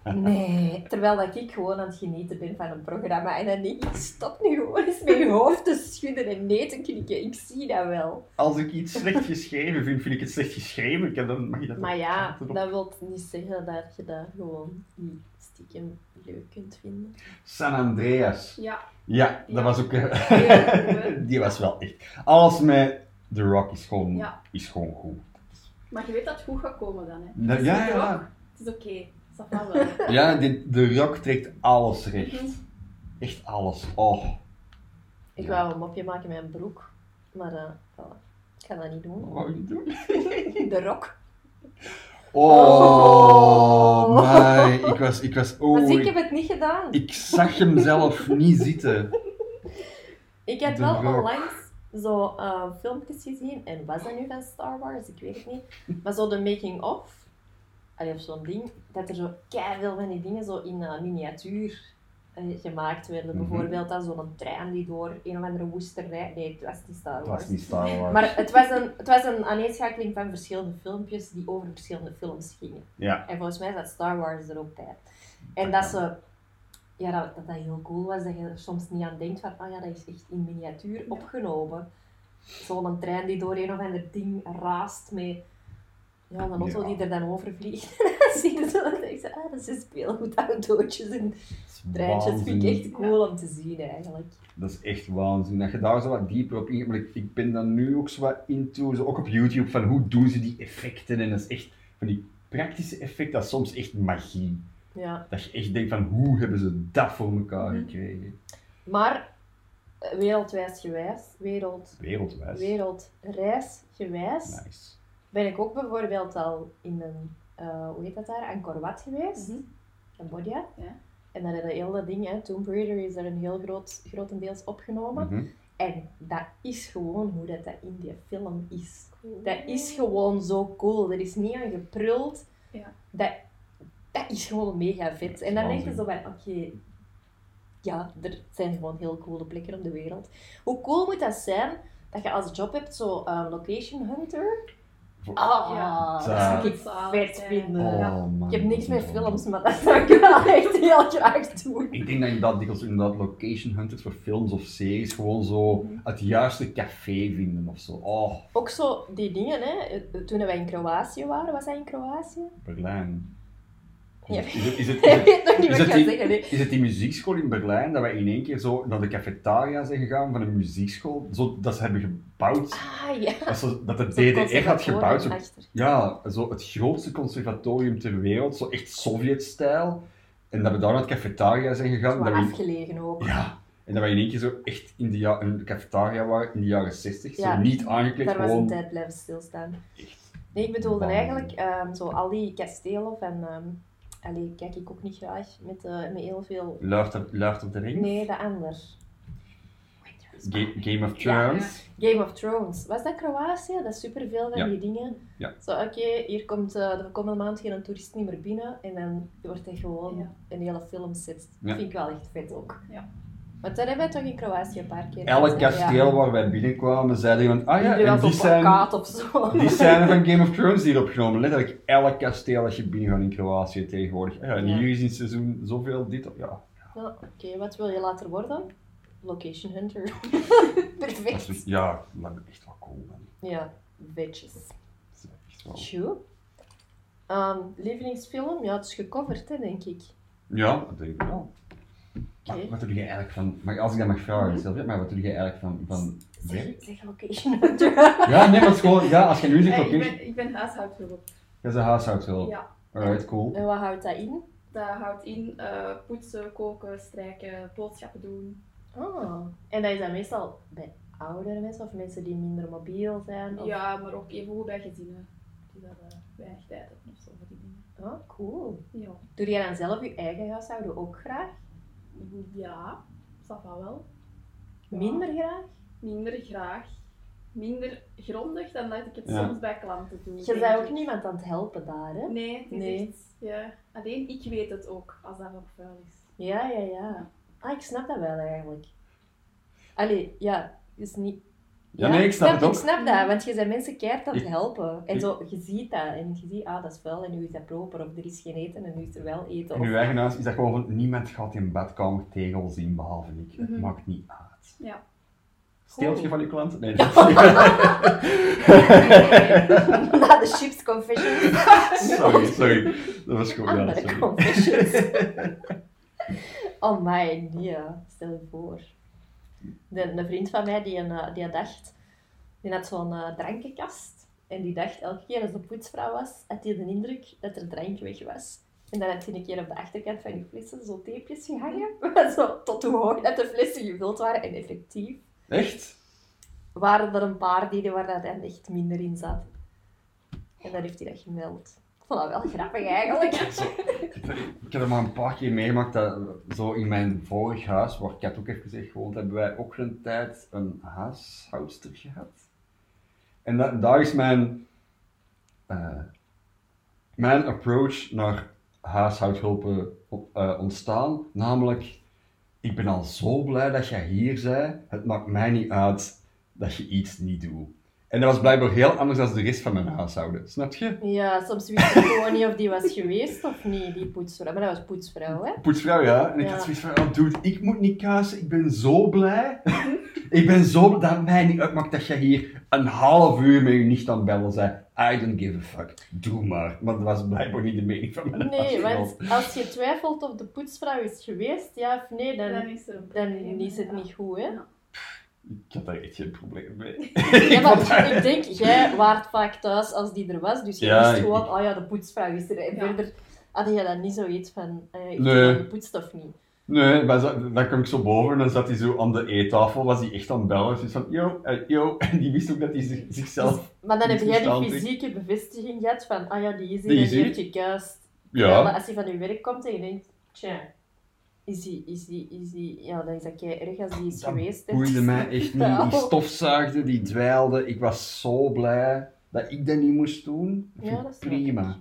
nee. Terwijl dat ik gewoon aan het genieten ben van een programma. En dan denk ik, stop nu gewoon eens met je hoofd te schudden en nee te knikken. Ik zie dat wel.
Als ik iets slecht geschreven vind, vind ik het slecht geschreven. Ik heb, dan mag je dat
Maar ja,
ook-
dat wil niet zeggen dat je dat gewoon niet stiekem leuk kunt vinden.
San Andreas.
Ja,
Ja, dat
Ja.
was ook... eh,
Ja.
Die was wel echt... Alles met The Rock is gewoon,
Ja.
is gewoon goed.
maar je weet dat het goed gaat komen dan, hè.
Ja,
Het is
ja,
niet rock,
ja.
Het is oké, dat gaat wel.
Ja, die- de Rock trekt alles recht.
Mhm.
Echt alles. Oh,
Ik
Ja.
wou een mopje maken met een broek, maar eh, voilà. ik ga dat niet
wat
doen.
wou je doen?
De rok.
Oh,
Oh.
my. Ik was... Ik was
Maar
oh,
zie, ik
ik,
heb het niet gedaan.
ik zag hem zelf niet zitten.
Ik heb
De
wel
Rock.
onlangs zo eh, filmpjes gezien, en was dat nu van Star Wars? Ik weet het niet. Maar zo de making-of, allee, of zo'n ding, dat er zo veel van die dingen zo in eh, miniatuur eh, gemaakt werden.
Mhm.
Bijvoorbeeld dan zo'n trein die door een of andere woesterij... Nee, het was niet Star
Het
Wars.
was niet Star Wars.
Maar het was, een, het was een aaneenschakeling van verschillende filmpjes die over verschillende films gingen.
Ja.
En volgens mij zat Star Wars er ook bij. En dat ze... Ja, dat, dat dat heel cool was, dat je er soms niet aan denkt van, oh ja, dat is echt in miniatuur opgenomen. Zo'n trein die door een of ander ding raast met... Ja, een auto
Ja.
die er dan over vliegt. dan zie je zo, dat ik zei, ah, dat zijn speelgoedautootjes en treintjes. vind ik
Waanzin.
echt cool om te zien, eigenlijk.
Dat is echt waanzin. Dat je daar zo wat dieper op ingaat. Maar ik, ik ben dan nu ook zo wat into, zo ook op YouTube, van hoe doen ze die effecten. En dat is echt van die praktische effecten, dat is soms echt magie.
Ja.
Dat je echt denkt van, hoe hebben ze dat voor elkaar
Mhm.
gekregen?
Maar eh, wereldwijs gewijs, wereld,
Wereldwijs.
wereldreis gewijs,
Nice.
ben ik ook bijvoorbeeld al in een, eh, hoe heet dat daar, Angkor Wat geweest,
Mhm.
Cambodja.
Ja.
En dan hebben heel dat ding, hè, Tomb Raider is er een heel groot, grotendeels opgenomen.
Mhm.
En dat is gewoon hoe dat, dat in die film is. Dat is gewoon zo cool. Er is niet aan gepruld.
Ja.
Dat, dat is gewoon mega vet. En dan denk je zo
Waanzin.
van, oké, ja, er zijn gewoon heel coole plekken op de wereld. Hoe cool moet dat zijn dat je als job hebt zo eh, location hunter?
Voor-
Ah,
Ja.
dat zou ik
Zalig.
vet vinden.
Oh,
Ja.
man.
Ik heb niks met
met
films, maar dat zou ik wel echt heel graag doen.
Ik denk dat inderdaad dikwijls inderdaad location hunters voor films of series gewoon zo
Mhm.
het juiste café vinden of zo. Oh,
Ook zo die dingen, hè. Eh, Toen wij in Kroatië waren, was dat in Kroatië?
Berlijn. Is
Ja.
het- is het- is het- is
Ik
het-
weet nog niet
Is
wat ik
het,
ga zeggen.
die,
nee.
is het die muziekschool in Berlijn dat wij in één keer zo naar de cafetaria zijn gegaan van een muziekschool? Zo, dat ze hebben gebouwd,
Ah, ja.
dat, ze, dat de
Zo'n
DDR had
conservatorium
gebouwd. Zo,
achter.
ja, zo het grootste conservatorium ter wereld, zo echt Sovjet-stijl. En dat we daar naar de cafetaria zijn
Zo
gegaan. Dat we,
afgelegen ook.
ja, en dat wij in één keer zo echt in de, ja, in de cafetaria waren in de jaren 60.
Ja,
zo niet aangekleed,
Daar was een
gewoon.
tijd blijven stilstaan. Nee, ik bedoelde
Wauw.
eigenlijk ehm, zo al die kastelen en ehm allee, kijk ik ook niet graag met, eh, met heel veel.
Luister op, Luister op de ring.
Nee, de ander.
Ga- Game of
Ja,
Thrones.
Game of Thrones. Was dat Kroatië? Dat is superveel van
Ja.
die dingen.
Ja.
Zo, oké, hier komt eh, de komende maand geen toerist niet meer binnen. En dan wordt hij gewoon
Ja.
een hele filmset.
Ja.
Dat vind ik wel echt vet ook.
Ja.
Want daar hebben we toch in Kroatië een paar keer
Elk
gezien, ja.
kasteel waar wij binnenkwamen, zeiden iemand, ah ja,
Die
en
was
die
op
zijn,
plakkaat of zo.
Die scène van Game of Thrones die opgenomen. Letterlijk elk kasteel dat je binnengaat in Kroatië tegenwoordig. Ja, en
Ja.
hier is in het seizoen zoveel dit. op- Ja,
Ja, Oké, wat wil je later worden? Location hunter.
dat is,
Perfect.
ja, dat is echt wel cool. Man.
Ja, bitches.
Dat is echt wel-
Tjoe. Ehm, lievelingsfilm? Ja, het is gecoverd, hè, denk ik.
Ja, dat denk ik wel. Maar
Oké.
Wat doe jij eigenlijk van, maar als ik dat mag vragen, Sylvia, maar wat doe jij eigenlijk van, van
Zeg,
werk?
zeg location hunter.
Ja, nee, maar het is gewoon, ja, als je nu zegt,
Eh,
oké, "Ah,
ik, ben, ik ben huishoudhulp.
dat is een huishoudhulp.
Ja.
Alright, cool.
En wat houdt dat in?
Dat houdt in eh, poetsen, koken, strijken, boodschappen doen.
Ah. Oh. En dat is dan meestal bij oudere mensen of mensen die minder mobiel zijn? Of...
Ja, maar ook even goed bij gezinnen. Die dat eh, weinig tijd hebben of zo voor die dingen.
Oh, cool.
Ja.
Doe jij dan zelf je eigen huishouden ook graag?
Ja, dat wel. Ja.
Minder graag?
Minder graag. Minder grondig dan dat ik het
Ja.
soms bij klanten doe.
Je
denk
bent ook
ik.
niemand aan het helpen daar, hè?
Nee, het is
Nee.
echt- ja. alleen ik weet het ook, als dat nog vuil is.
Ja, ja, ja. Ah, ik snap dat wel eigenlijk. Allee, ja, is niet...
Ja, nee, ik snap het ook.
Ik snap dat, want je bent mensen keihard aan het
Ik-
helpen. En
ik-
zo, je ziet dat. En je ziet, ah, dat is wel, en nu is dat proper. Of er is geen eten, en nu is er wel eten.
In
Of...
uw eigen huis is dat gewoon van, niemand gaat in badkamer tegel zien, behalve ik. Het
Mhm.
maakt niet uit.
Ja.
Steelt je van je klant? Nee. dat-
Na de chips confession.
sorry, sorry. Oh, Dat was gewoon, ja,
Andere
sorry.
confessions. Oh my, nee. Stel je voor. De, een vriend van mij, die, een, eh, die dacht... Die had zo'n eh, drankenkast. En die dacht, elke keer als de poetsvrouw was, had hij de indruk dat er drank weg was. En dan had hij een keer op de achterkant van die flessen zo tapejes gehangen. zo, tot hoe hoog dat de flessen gevuld waren. En effectief
Echt?
waren er een paar dingen waar dat hij echt minder in zat. En dat heeft hij dat gemeld. Ik vond dat wel grappig eigenlijk.
Ik heb er maar een paar keer meegemaakt dat zo in mijn vorig huis, waar ik ook even gezegd gewoond, hebben wij ook een tijd een huishoudster gehad. En da- daar is mijn, eh, mijn approach naar huishoudhulpen op- eh, ontstaan. Namelijk, ik ben al zo blij dat jij hier bent. Het maakt mij niet uit dat je iets niet doet. En dat was blijkbaar heel anders dan de rest van mijn huishouden. Snap je?
Ja, soms wist ik gewoon niet of die was geweest of niet, die poetsvrouw. Maar dat was poetsvrouw, hè?
Poetsvrouw, ja. En ik
Ja.
had zoiets van, oh, dude, ik moet niet kazen, ik ben zo blij. ik ben zo blij dat mij niet uitmaakt dat jij hier een half uur met je nicht aan het bellen zei. I don't give a fuck. Doe maar. Maar dat was blijkbaar niet de mening van mijn
Nee,
huisgenoot.
want als je twijfelt of de poetsvrouw is geweest, ja of nee,
Dan
dan,
is er een probleem,
dan is het
ja.
niet goed, hè?
Ik had daar echt geen probleem mee.
Ja,
Ik vond dat-
maar ik denk, jij waart vaak thuis als die er was, dus je
Ja,
wist
ik-
gewoon, oh ja, de poetsvrouw is er. En
Ja.
verder had je dan niet zoiets van, eh, is
Nee.
die gepoetst of niet?
Nee, maar zo- dan kwam ik zo boven en dan zat hij zo aan de eettafel, was hij echt aan het bellen. Dus van, yo, eh, yo. En die wist ook dat hij zich- zichzelf...
Maar dan heb
Niet
jij die
verstandig.
fysieke bevestiging gehad van, ah ja, die is
Die
hier en
is
die
hier.
heeft gekuist. Ja, maar
Ja.
als hij van je werk komt en je denkt, tja, is die, is die, is die, ja, dan is dat kei erg als die is
Dat
geweest. hè. Nou.
boeide mij echt niet.
Ja.
Die stofzuigde, die dweilde. Ik was zo blij dat ik dat niet moest doen. Dat
Ja,
vind ik
dat snap ik.
prima.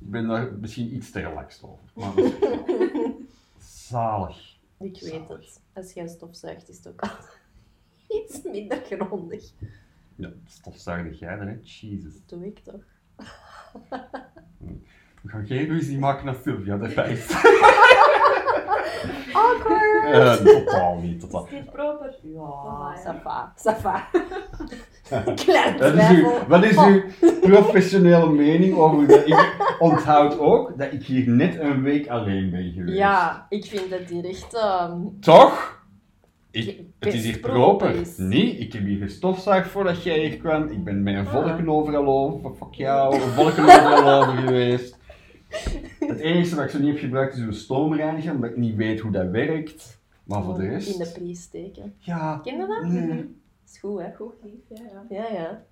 Ik ben daar misschien iets te relaxed over. Maar dat is echt wel. Zalig.
Ik weet
Zalig.
het. Als jij stofzuigt, is het ook al iets minder grondig.
Ja, stofzuigde jij dan, hè? Jesus.
Dat doe ik toch.
We gaan geen ruzie maken naar Sylvia erbij is.
Awkward!
Eh, totaal niet, totaal.
Is dit proper?
Ja,
ja.
safa, safa. Klein
Wat is, uw,
twijfel.
wat is
Oh,
uw professionele mening over dat? Ik onthoud ook dat ik hier net een week alleen ben geweest.
Ja, ik vind dat die echt... ehm,
Toch? Ik,
Ge-
het is hier
proper
proper.
is.
Nee, ik heb hier gestofzuigd voordat jij hier kwam. Ik ben met een
Ah.
volken overal over. Fuck jou, een volken overal over geweest. Het enige wat ik zo niet heb gebruikt is een stoomreiniger, omdat ik niet weet hoe dat werkt. Maar voor de
In de
rest...
prijs steken.
Ja,
Ken je dat?
nee.
Is goed, hè?
Goed lief, ja. ja.
Ja, ja.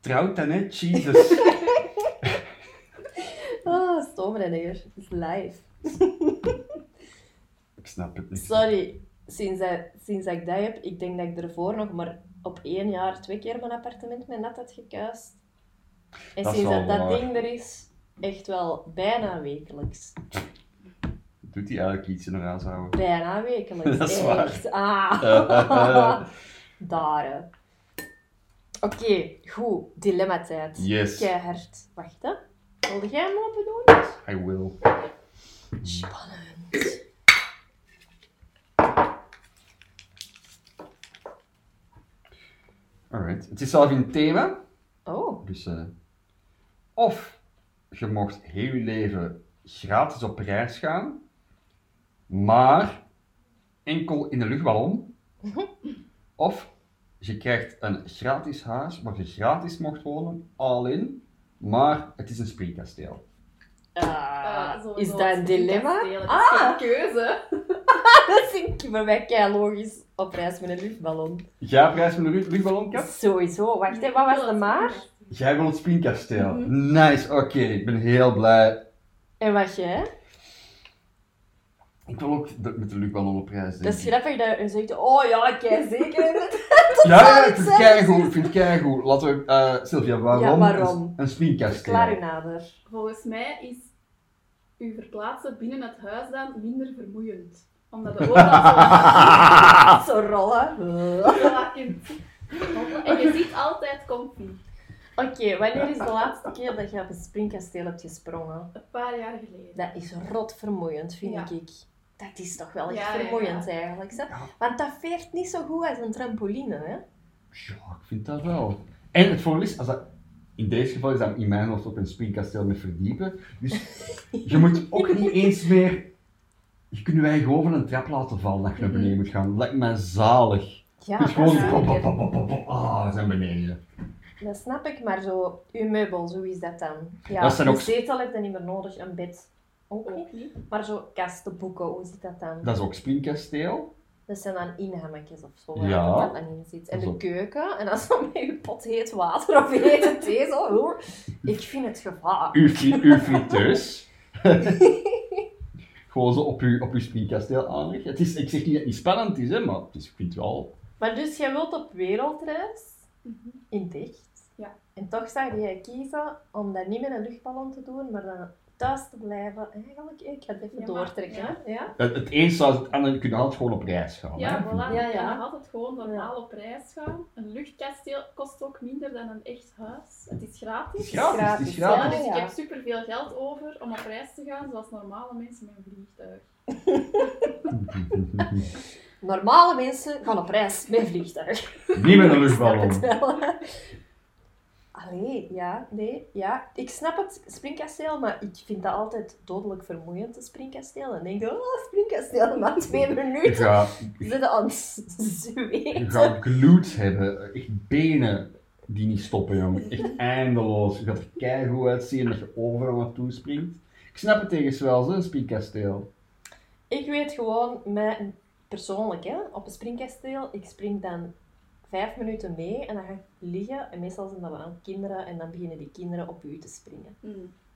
Trouwt dan, hè? Jesus.
Ah, stoomrenner. Is live.
Ik snap het niet.
Sorry, sinds dat, sinds dat ik dat heb, ik denk dat ik ervoor nog maar op één jaar twee keer mijn appartement met nat had gekuist. En
Dat is
sinds
wel
dat dat
waar.
ding er is, echt wel bijna wekelijks.
Doet hij eigenlijk iets in de huis houden? Eh,
Bijna wekelijks.
Dat is waar.
echt. Ah. Daar. hè. Oké, goed. Dilemma tijd.
Yes.
Keihard. Wacht, hè. Wilde jij hem open doen?
I will.
Spannend.
Alright. Het is zelf een thema.
Oh.
Dus, eh, of je mocht heel je leven gratis op reis gaan, maar enkel in de luchtballon. Of je krijgt een gratis huis waar je gratis mocht wonen, all in, maar het is een springkasteel.
Ah,
Ah, sowieso,
is dat een
het
dilemma?
kasteel, het is
Ah,
geen keuze.
dat dat vind ik voor mij kei logisch op reis met een luchtballon.
Jij op reis met een lu- luchtballon, Kat?
Dus Sowieso. Wacht, hè, wat was de maar?
Jij wil het springkasteel.
Mhm.
Nice, oké. ik ben heel blij.
En wat jij?
Ik wil ook de- met de luchtballon op reis, denk
Dat is
ik.
grappig dat Dus je zegt, oh ja, kei zeker.
Ja, ja, ik vind het
zelfs.
keigoed. Ik vind het keigoed. Laten we... eh Sylvia, waarom,
Ja, waarom?
een- een springkasteel?
Klaar u nader.
Volgens mij is u verplaatsen binnen het huis dan minder vermoeiend. Omdat de overal
Zo rollen.
zo relaxed En je ziet altijd comfy.
Oké, wanneer is de laatste keer dat je op een springkasteel hebt gesprongen?
Een paar jaar geleden.
Dat is rot vermoeiend, vind
Ja.
ik. Dat is toch wel echt
Ja, ja,
vermoeiend eigenlijk. Hè?
Ja.
Want dat veert niet zo goed als een trampoline. Hè?
Ja, ik vind dat wel. En het voordeel is, als dat, in deze geval is dat in mijn hoofd op een springkasteel met verdiepen. Dus je moet ook niet eens meer... Je kunt je eigen gewoon van een trap laten vallen dat je naar beneden moet gaan. Dat lijkt mij zalig.
Mhm. Ja,
Het is gewoon...
dat,
pop, pop,
zeker.
pop, pop, pop, pop, Ah, we zijn beneden.
dat snap ik, maar zo, uw meubels, hoe is dat dan? Ja,
Dat zijn ook-
Een zetel heb je niet meer nodig, een bed ook niet.
Ook niet.
Maar zo kasten, boeken, hoe zit dat dan?
Dat is ook springkasteel.
Dat Dus zijn dan inhammetjes of zo,
Ja.
waar dat dan in zit. En
Zo.
de keuken, en dan zo met je pot heet water of hete thee, zo. hoor. Ik vind het gevaar.
Uw, fri- uw friteus. gewoon zo op uw, op uw springkasteel aanleggen. Het is, ik zeg niet dat het niet spannend is, hè, maar het is, ik vind het wel...
Maar dus jij wilt op wereldreis,
Mhm.
in dicht.
Ja.
En toch zou jij kiezen om dat niet met een luchtballon te doen, maar dan thuis te blijven. Eigenlijk, ik ga het even
Ja, maar-
doortrekken.
ja.
hè. Ja?
Het, het een zou het ander kunnen altijd gewoon op reis gaan.
Ja,
hè.
voilà.
Ja, ja.
Je kan nog altijd gewoon normaal op reis gaan. Een luchtkasteel kost ook minder dan een echt huis. Het is gratis.
Het is gratis, het is
Ja,
Ja,
gratis.
dus
ja.
ik heb superveel geld over om op reis te gaan, zoals normale mensen met een vliegtuig.
Normale mensen gaan op reis met vliegtuig.
Niet met een
Ik
luchtballon.
snap het wel. Allee, ja, nee, ja. Ik snap het springkasteel, maar ik vind dat altijd dodelijk vermoeiend, een springkasteel. En denk, oh, springkasteel, na twee
Je
minuten
gaat,
zitten aan het
je
zweten.
gaat gloed hebben. Echt benen die niet stoppen, jongen. Echt eindeloos. Je gaat er keigoed uitzien dat je overal naartoe springt. Ik snap het tegen wel, een springkasteel.
Ik weet gewoon, mijn, persoonlijk, hè, op een springkasteel, ik spring dan vijf minuten mee en dan ga ik liggen. En meestal zijn dat aan kinderen en dan beginnen die kinderen op u te springen.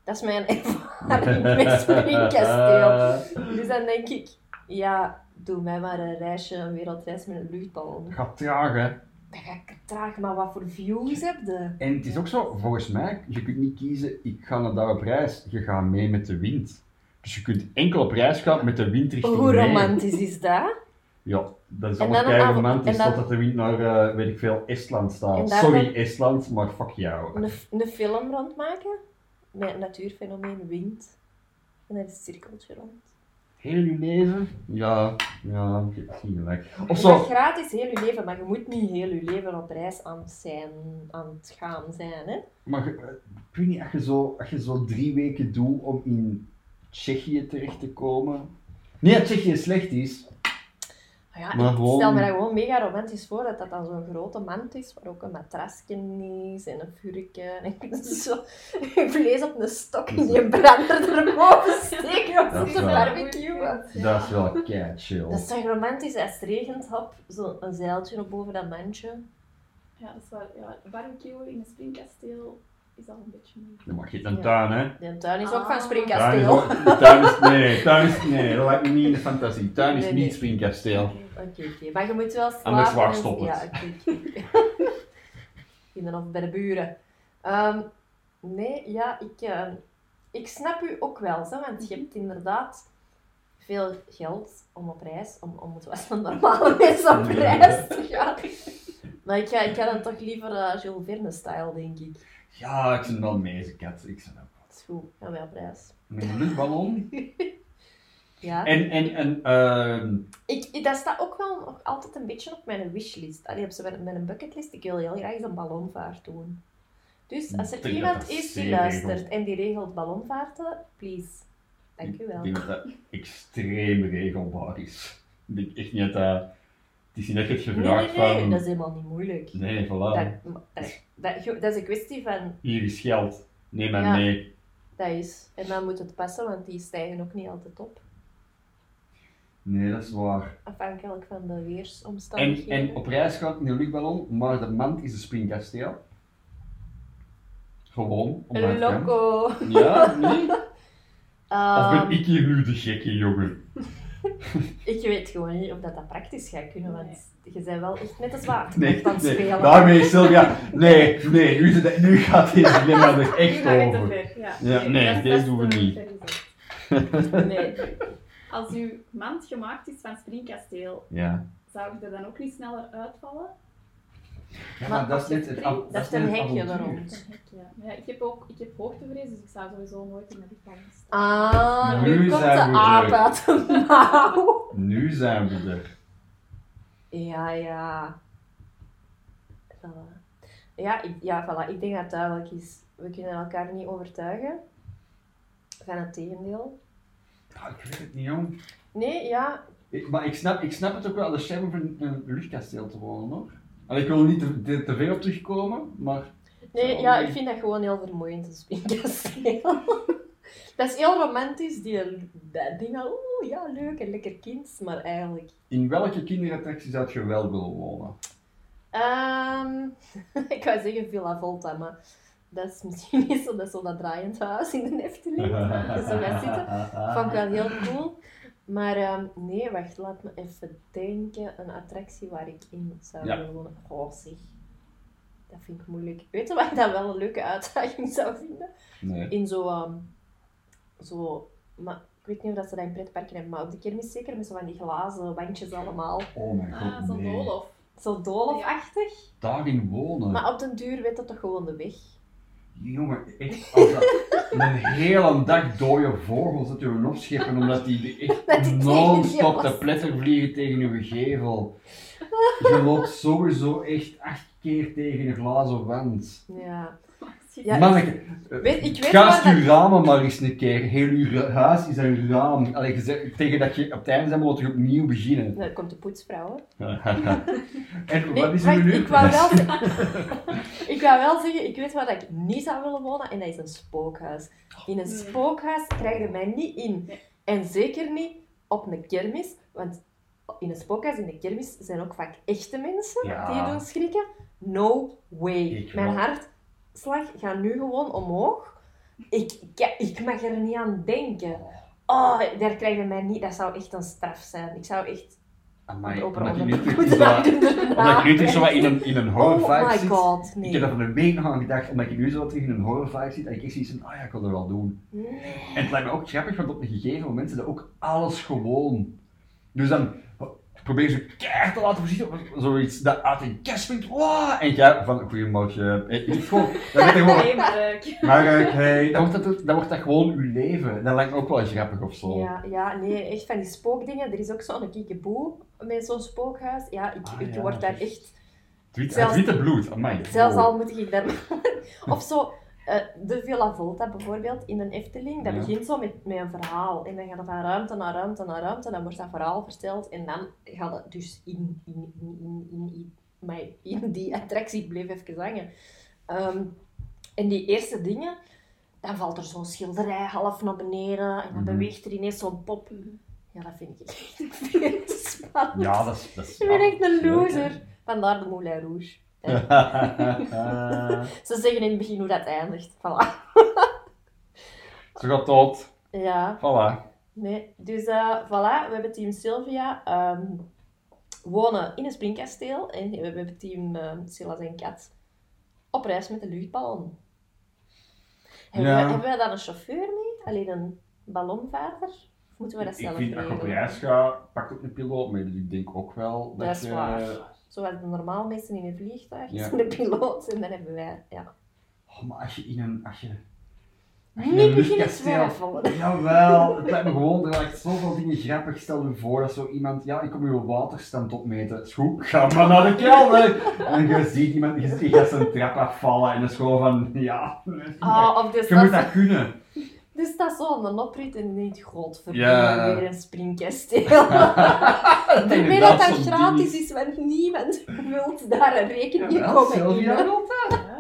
Dat is mijn ervaring met springkasteel. Dus dan denk ik, ja, doe mij maar een reisje, een wereldreis met een luchtballon.
Gaat traag, hè.
Dan ga ik traag, maar wat voor views heb je?
En het is ook zo, volgens mij, je kunt niet kiezen, ik ga naar daar op reis. Je gaat mee met de wind. Dus je kunt enkel op reis gaan met de wind richting
Hoe
mee.
romantisch is dat?
Ja, dat is
En
allemaal
dan
kei
een
romantisch,
avond- en dan-
totdat de wind naar, eh, weet ik veel, Estland
En
staat.
daar
Sorry
dan-
Estland, maar fuck jou.
Een, een film rondmaken met een natuurfenomeen wind. En dan is het cirkeltje rond.
Heel uw leven? Ja, ja, ik heb het niet gelijk. Of
Je mag
zo,
gratis heel je leven, maar je moet niet heel je leven op reis aan het, zijn, aan het gaan zijn. Hè?
maar je- eh, ik weet niet, als je, zo, als je zo drie weken doet om in Tsjechië terecht te komen. Niet dat Tsjechië slecht is.
Maar ja,
Maar
ik
gewoon-
stel me dat gewoon mega romantisch voor, dat dat dan zo'n grote mand is, waar ook een matrasje is en een vurken en zo vlees op een stok in die brander erboven steken
Dat
om
is
te
waar. Oh.
barbecuen.
Dat is wel kei chill.
Dat is toch romantisch als het regent, hop, zo'n zeiltje op boven dat mandje.
Ja, dat is waar. Ja, barbecue in een springkasteel is al een beetje moeilijk.
Dan mag je dan
Ja.
tuin, hè?
De tuin is ook van
Ah.
Tuin is,
springkasteel. Oké,
ook- tuin is, nee, tuin is, nee, dat lijkt me niet in de fantasie. Tuin is
Nee, nee.
niet springkasteel.
oké. Maar je moet wel slapen.
Anders wacht,
en-
stop het.
Ja, oké. oké. Kinderen of bij de buren. Ehm, nee, ja, ik, eh, ik snap u ook wel, zo, want je hebt inderdaad veel geld om op reis, om, om het was een normale mensen op
Ja.
reis te gaan. Maar ik ga, ik ga dan toch liever eh, Jules Verne-style, denk ik.
Ja, ik ben wel mee, kat. Ik ben ook
Dat is goed, gaan wij op reis.
met een luchtballon.
Ja.
En, en, en, ehm,
Ik, ik- dat staat ook wel nog altijd een beetje op mijn wishlist. Allee, op mijn, mijn bucketlist. Ik wil heel graag eens een ballonvaart doen. Dus als
Ik
er
denk
iemand
dat dat
is die
zeer regelt.
luistert en die regelt ballonvaarten, please. Dank u wel.
Ik denk dat dat extreem regelbaar is. Ik denk echt niet dat dat... Het is niet dat je het
Nee, nee,
gevraagd
nee,
van...
dat is helemaal niet moeilijk.
Nee, voilà.
Dat, maar- dat, dat, dat is een kwestie van,
Hier is geld. Neem maar
Ja.
mee.
dat is. En dan moet het passen, want die stijgen ook niet altijd op.
Nee, dat is waar.
Afhankelijk van de
En,
weersomstandigheden.
en op reis gaat in de luchtballon, maar de mand is een springkasteel. Gewoon, omdat het kan.
Loco.
Ja, nee? Of
Ehm,
ben ik hier nu de gekke jongen?
ik weet gewoon niet of dat, dat praktisch gaat kunnen, want je bent wel echt net als waard
Nee,
aan het
nee.
spelen.
Daarmee, Sylvia. Nee, nee, nu, is het- nu gaat dit dilemma er echt
Nu ga ik te
over.
ver. Ja,
Ja, nee,
dat is-
deze
dat is
doen we
te
niet.
ver gezet. Nee. Als uw mand gemaakt is van springkasteel,
Ja.
zou je er dan ook niet sneller uitvallen?
ja, maar dat is net het av-
Dat is
net
een
het
hekje
avontuur.
daar
Dat
rond.
heb ik, ja. Maar ja, ik heb ook ik heb hoogtevrees, dus ik zou sowieso nooit in de luchtballon staan.
Ah, nu,
Nu
komt de
zijn we
aap
terug.
uit de mouw.
Nu zijn we er.
Ja, ja. Voilà. Ja, ik, ja, voilà. Ik denk dat het duidelijk is. We kunnen elkaar niet overtuigen. Van het tegendeel.
Ja, ik weet het niet, jong.
Nee, ja.
Ik- maar ik snap, ik snap het ook wel, de chef van een, een luchtkasteel te wonen, hoor. En ik wil er niet te, te, te veel op terugkomen, maar...
Nee, ja, ik vind dat gewoon heel vermoeiend, een springkasteel. dat is heel romantisch, die, dat ding van, oeh, ja, leuk en lekker kind, maar eigenlijk...
In welke kinderattractie zou je wel willen wonen?
Ehm, ik wou zeggen Villa Volta, maar dat is misschien niet zo, dat is zo dat draaiend huis in de Efteling. Dat zo gaat zitten. Vond ik wel heel cool. Maar ehm, nee, wacht, laat me even denken. Een attractie waar ik in zou
Ja.
willen wonen. Goh, zeg. Dat vind ik moeilijk. Weet je wat ik dat wel een leuke uitdaging zou vinden?
Nee.
In zo... ehm, zo maar, ik weet niet of dat ze dat in pretparken hebben, maar op de kermis zeker met zo van die glazen bandjes allemaal.
Oh mijn god,
Ah, zo'n
nee.
doolhof.
Zo doolhofachtig.
Daarin wonen.
Maar op den duur weet dat toch gewoon de weg.
Jongen, echt, als dat een hele dag dode vogels dat je opscheppen omdat die
Dat
echt
die
non-stop
tegen je
te pletter vliegen tegen je gevel. Je loopt sowieso echt acht keer tegen een glazen wand.
Ja.
Ja,
Ja,
Manneke,
Weet, ik weet
gast
waar
uw ramen maar eens een keer. Heel uw ra- huis is een raam. Allee, je zegt- tegen dat je op het einde bent, moet je opnieuw beginnen.
dat... Daar komt de poetsvrouw, hè.
en
Nee,
wat is uw
wacht,
nu?
ik wou, wel zeggen, ik wou wel zeggen, ik weet waar dat ik niet zou willen wonen en dat is een spookhuis. In een
Oh, Nee.
spookhuis krijg je mij niet in.
Nee.
En zeker niet op een kermis, want in een spookhuis, in de kermis, zijn ook vaak echte mensen die je
Ja,
doen schrikken. No way.
Ik
Mijn
wel.
hartslag gaat nu gewoon omhoog. Ik, ik, ik mag er niet aan denken. Oh, daar krijg je mij niet. Dat zou echt een straf zijn. Ik zou echt
amai.
op een
Omdat je nu
onderbroek
terug
moeten
zo- omdat
daarna.
je nu terug zo wat in een, in een horror
Oh
vibe
my
zit.
god,
Ik heb
nee.
daar van een week nog aan gedacht, omdat ik nu zo tegen een horror vibe zit en ik echt zoiets van, ah ja, ik wil dat wel doen.
Nee.
En het lijkt me ook grappig, want op een gegeven moment is dat ook alles gewoon. Dus dan probeer je ze keihard te laten voorzien, of zoiets dat uit een kast springt, wow, en jij van, goeiemorgen, eh, ik gewoon, dan weet je gewoon,
Nee, maar ik-
maar eh, hey, dan wordt dat, dan wordt dat gewoon uw leven. Dat lijkt me ook wel grappig of zo.
Ja, ja, nee, echt van die spookdingen. Er is ook zo'n kiekeboe met zo'n spookhuis. Ja, ik,
Ah,
ik
ja,
word daar
juist.
echt...
Het, witte,
Zelfs-
het witte bloed, amai.
Zelfs
Oh.
al moet ik daar... of zo, eh, de Villa Volta bijvoorbeeld, in een Efteling. Dat
Ja.
begint zo met, met een verhaal. En dan gaat het van ruimte naar ruimte naar ruimte. Dan wordt dat verhaal verteld. En dan gaat het dus in, in, in, in, in, in, maar in die attractie. Ik bleef even hangen. Ehm, en die eerste dingen... Dan valt er zo'n schilderij half naar beneden. En dan
Mhm.
beweegt er ineens zo'n pop. Ja, dat vind ik echt veel te spannend.
Ja, dat is... Dat is
Ik ben echt een
leuk, hè.
loser. Vandaar de Moulin Rouge. Ze zeggen in het begin hoe dat eindigt. Voilà.
Ze gaat dood.
Ja,
Voilà.
nee. Dus eh, voilà, we hebben team Sylvia. ehm, wonen in een springkasteel. En we hebben team ehm Silas en Kat. Op reis met de luchtballon. Hebben,
Ja.
wij, hebben wij dan een chauffeur mee? Alleen een ballonvaarder? Of moeten we dat
ik
zelf
vind, als je op
regelen?
reis gaat, pak ook een piloot mee. Dus ik denk ook wel dat,
Dat is
je...
waar. Zoals de normaal mensen in een vliegtuig,
Ja.
zijn de piloot en dan hebben wij. Ja.
Oh, maar als je in een... Als je, als je in
Niet
een
beginnen
luchtkasteel-
twijfelen.
Jawel, het lijkt me gewoon, er lijkt zoveel dingen grappig. Stel je voor dat zo iemand, ja, ik kom uw waterstand opmeten. Is goed, ga maar naar de kelder. En je ziet iemand, je ziet die gast een trap afvallen en dat is gewoon van, ja,
Ah, of dus
je moet
dat,
dat kunnen.
dus dat zo aan de oprit en niet groot
Ja.
weer een springkasteel. Daarmee dat dat
zo'n
gratis
ding
is, want niemand wil daar een rekening
Jawel,
komen
Sylvia
in.
wil dat.
Ja.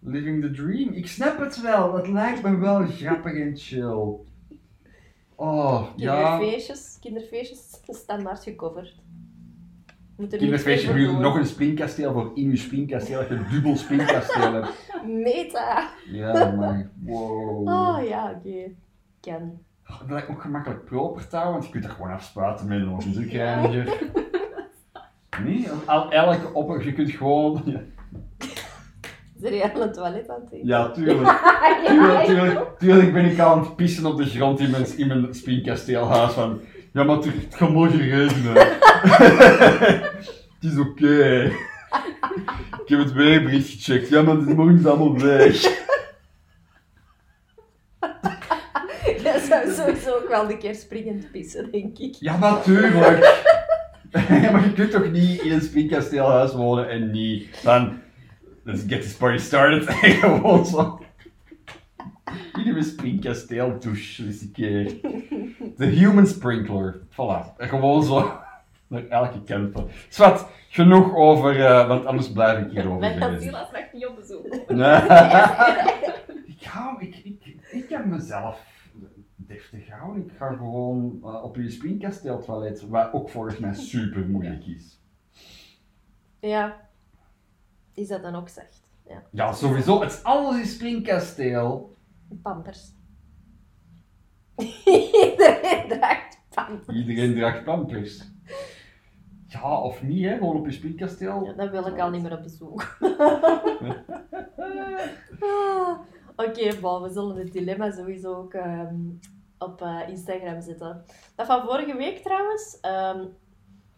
Living the dream. Ik snap het wel, dat lijkt me wel grappig en chill. Oh, ja.
Kinderfeestjes, kinderfeestjes, standaard gecoverd. Moet er
Kinderfeestje
niet
huur
over
nog een springkasteel voor in je springkasteel, dat je een dubbel springkasteel hebt.
doen. Meta!
Ja, maar wow.
Oh ja, oké. Ken.
Dat lijkt me ook gemakkelijk proper touw, want je kunt dat gewoon afspuiten met een onderzoekreiniger. Nee, al elke opper, je kunt gewoon...
Is er aan het toilet aan het eten?
Ja, tuurlijk. Tuurlijk, tuurlijk, tuurlijk ben ik aan het pissen op de grond in mijn, in mijn springkasteelhuis. Van, ja, maar het het gaat mooi regenen. het is oké. Ik heb het weerbericht gecheckt. Ja, maar het is morgen allemaal weg.
Jij zou sowieso ook wel een keer springend pissen, denk ik.
Ja, natuurlijk. maar je kunt toch niet in een springkasteelhuis wonen en niet van... Let's get this party started. En gewoon zo... Hier hebben we springkasteel douche, dus ik... eh, De human sprinkler. Voilà. En Gewoon zo naar elke kant van. Zwat, genoeg over... eh, want anders blijf ik hierover
Mijn
geweest.
Azila straks niet op bezoek.
ik, hou, ik, ik, ik heb mezelf deftig houden. Ik ga gewoon eh, op je springkasteel toilet, wat ook volgens mij super moeilijk is.
Ja. Is dat dan ook zacht? Ja.
Ja, sowieso. Het is alles in springkasteel.
Pampers. Iedereen draagt pampers.
Iedereen draagt pampers. Ja, of niet, hè? Gewoon op je springkasteel.
Ja, dan wil ik al niet meer op bezoek.
Eh,
Ah, Oké, bon, we zullen het dilemma sowieso ook ehm, op eh, Instagram zetten. Dat van vorige week trouwens. ehm,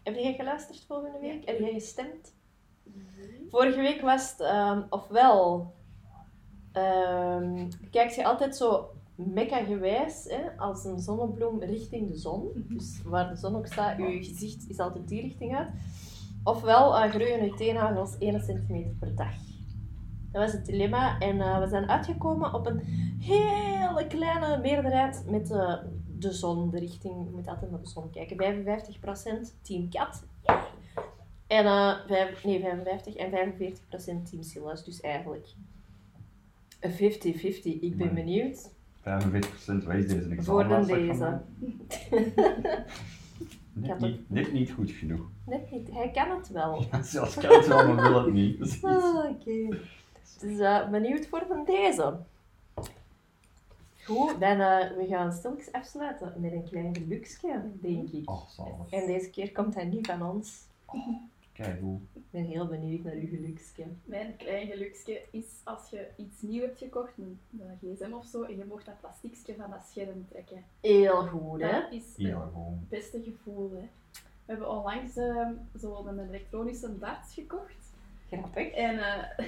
heb jij geluisterd volgende week? Heb jij gestemd? Vorige week was het ehm, ofwel. ehm kijk je altijd zo mekka gewijs hè, als een zonnebloem richting de zon. Dus waar de zon ook staat, je gezicht is altijd die richting uit. Ofwel eh, groeien uw teennagels 1 centimeter per dag. Dat was het dilemma. En eh, we zijn uitgekomen op een hele kleine meerderheid met eh, de zon, de richting. Je moet altijd naar de zon kijken. 55% team kat. En eh, vijf- nee, 55 en 45% team Silas. Dus eigenlijk een 50-50. Ik ben
Amai.
benieuwd.
45% waar is deze
Voor dan
examen?
deze.
Net
had
niet, net niet goed genoeg.
Net niet. Hij kan het wel.
Zelfs kan het wel, maar wil het niet. Dat is iets.
Ah, Oké. Dus eh, benieuwd voor van deze. Goed, dan eh, we gaan stilletjes afsluiten met een klein geluksje, denk ik.
Oh, zalig.
En deze keer komt hij niet van ons.
Kijk hoe.
Ik ben heel benieuwd naar uw geluksje.
Mijn klein geluksje is als je iets nieuw hebt gekocht, een een gsm of zo, en je mocht dat plastiekje van dat scherm trekken.
Heel goed, hè?
Dat is
Ja, gewoon.
het beste gevoel. Hè. We hebben onlangs ehm, zo een elektronische darts gekocht.
Grappig.
En, eh,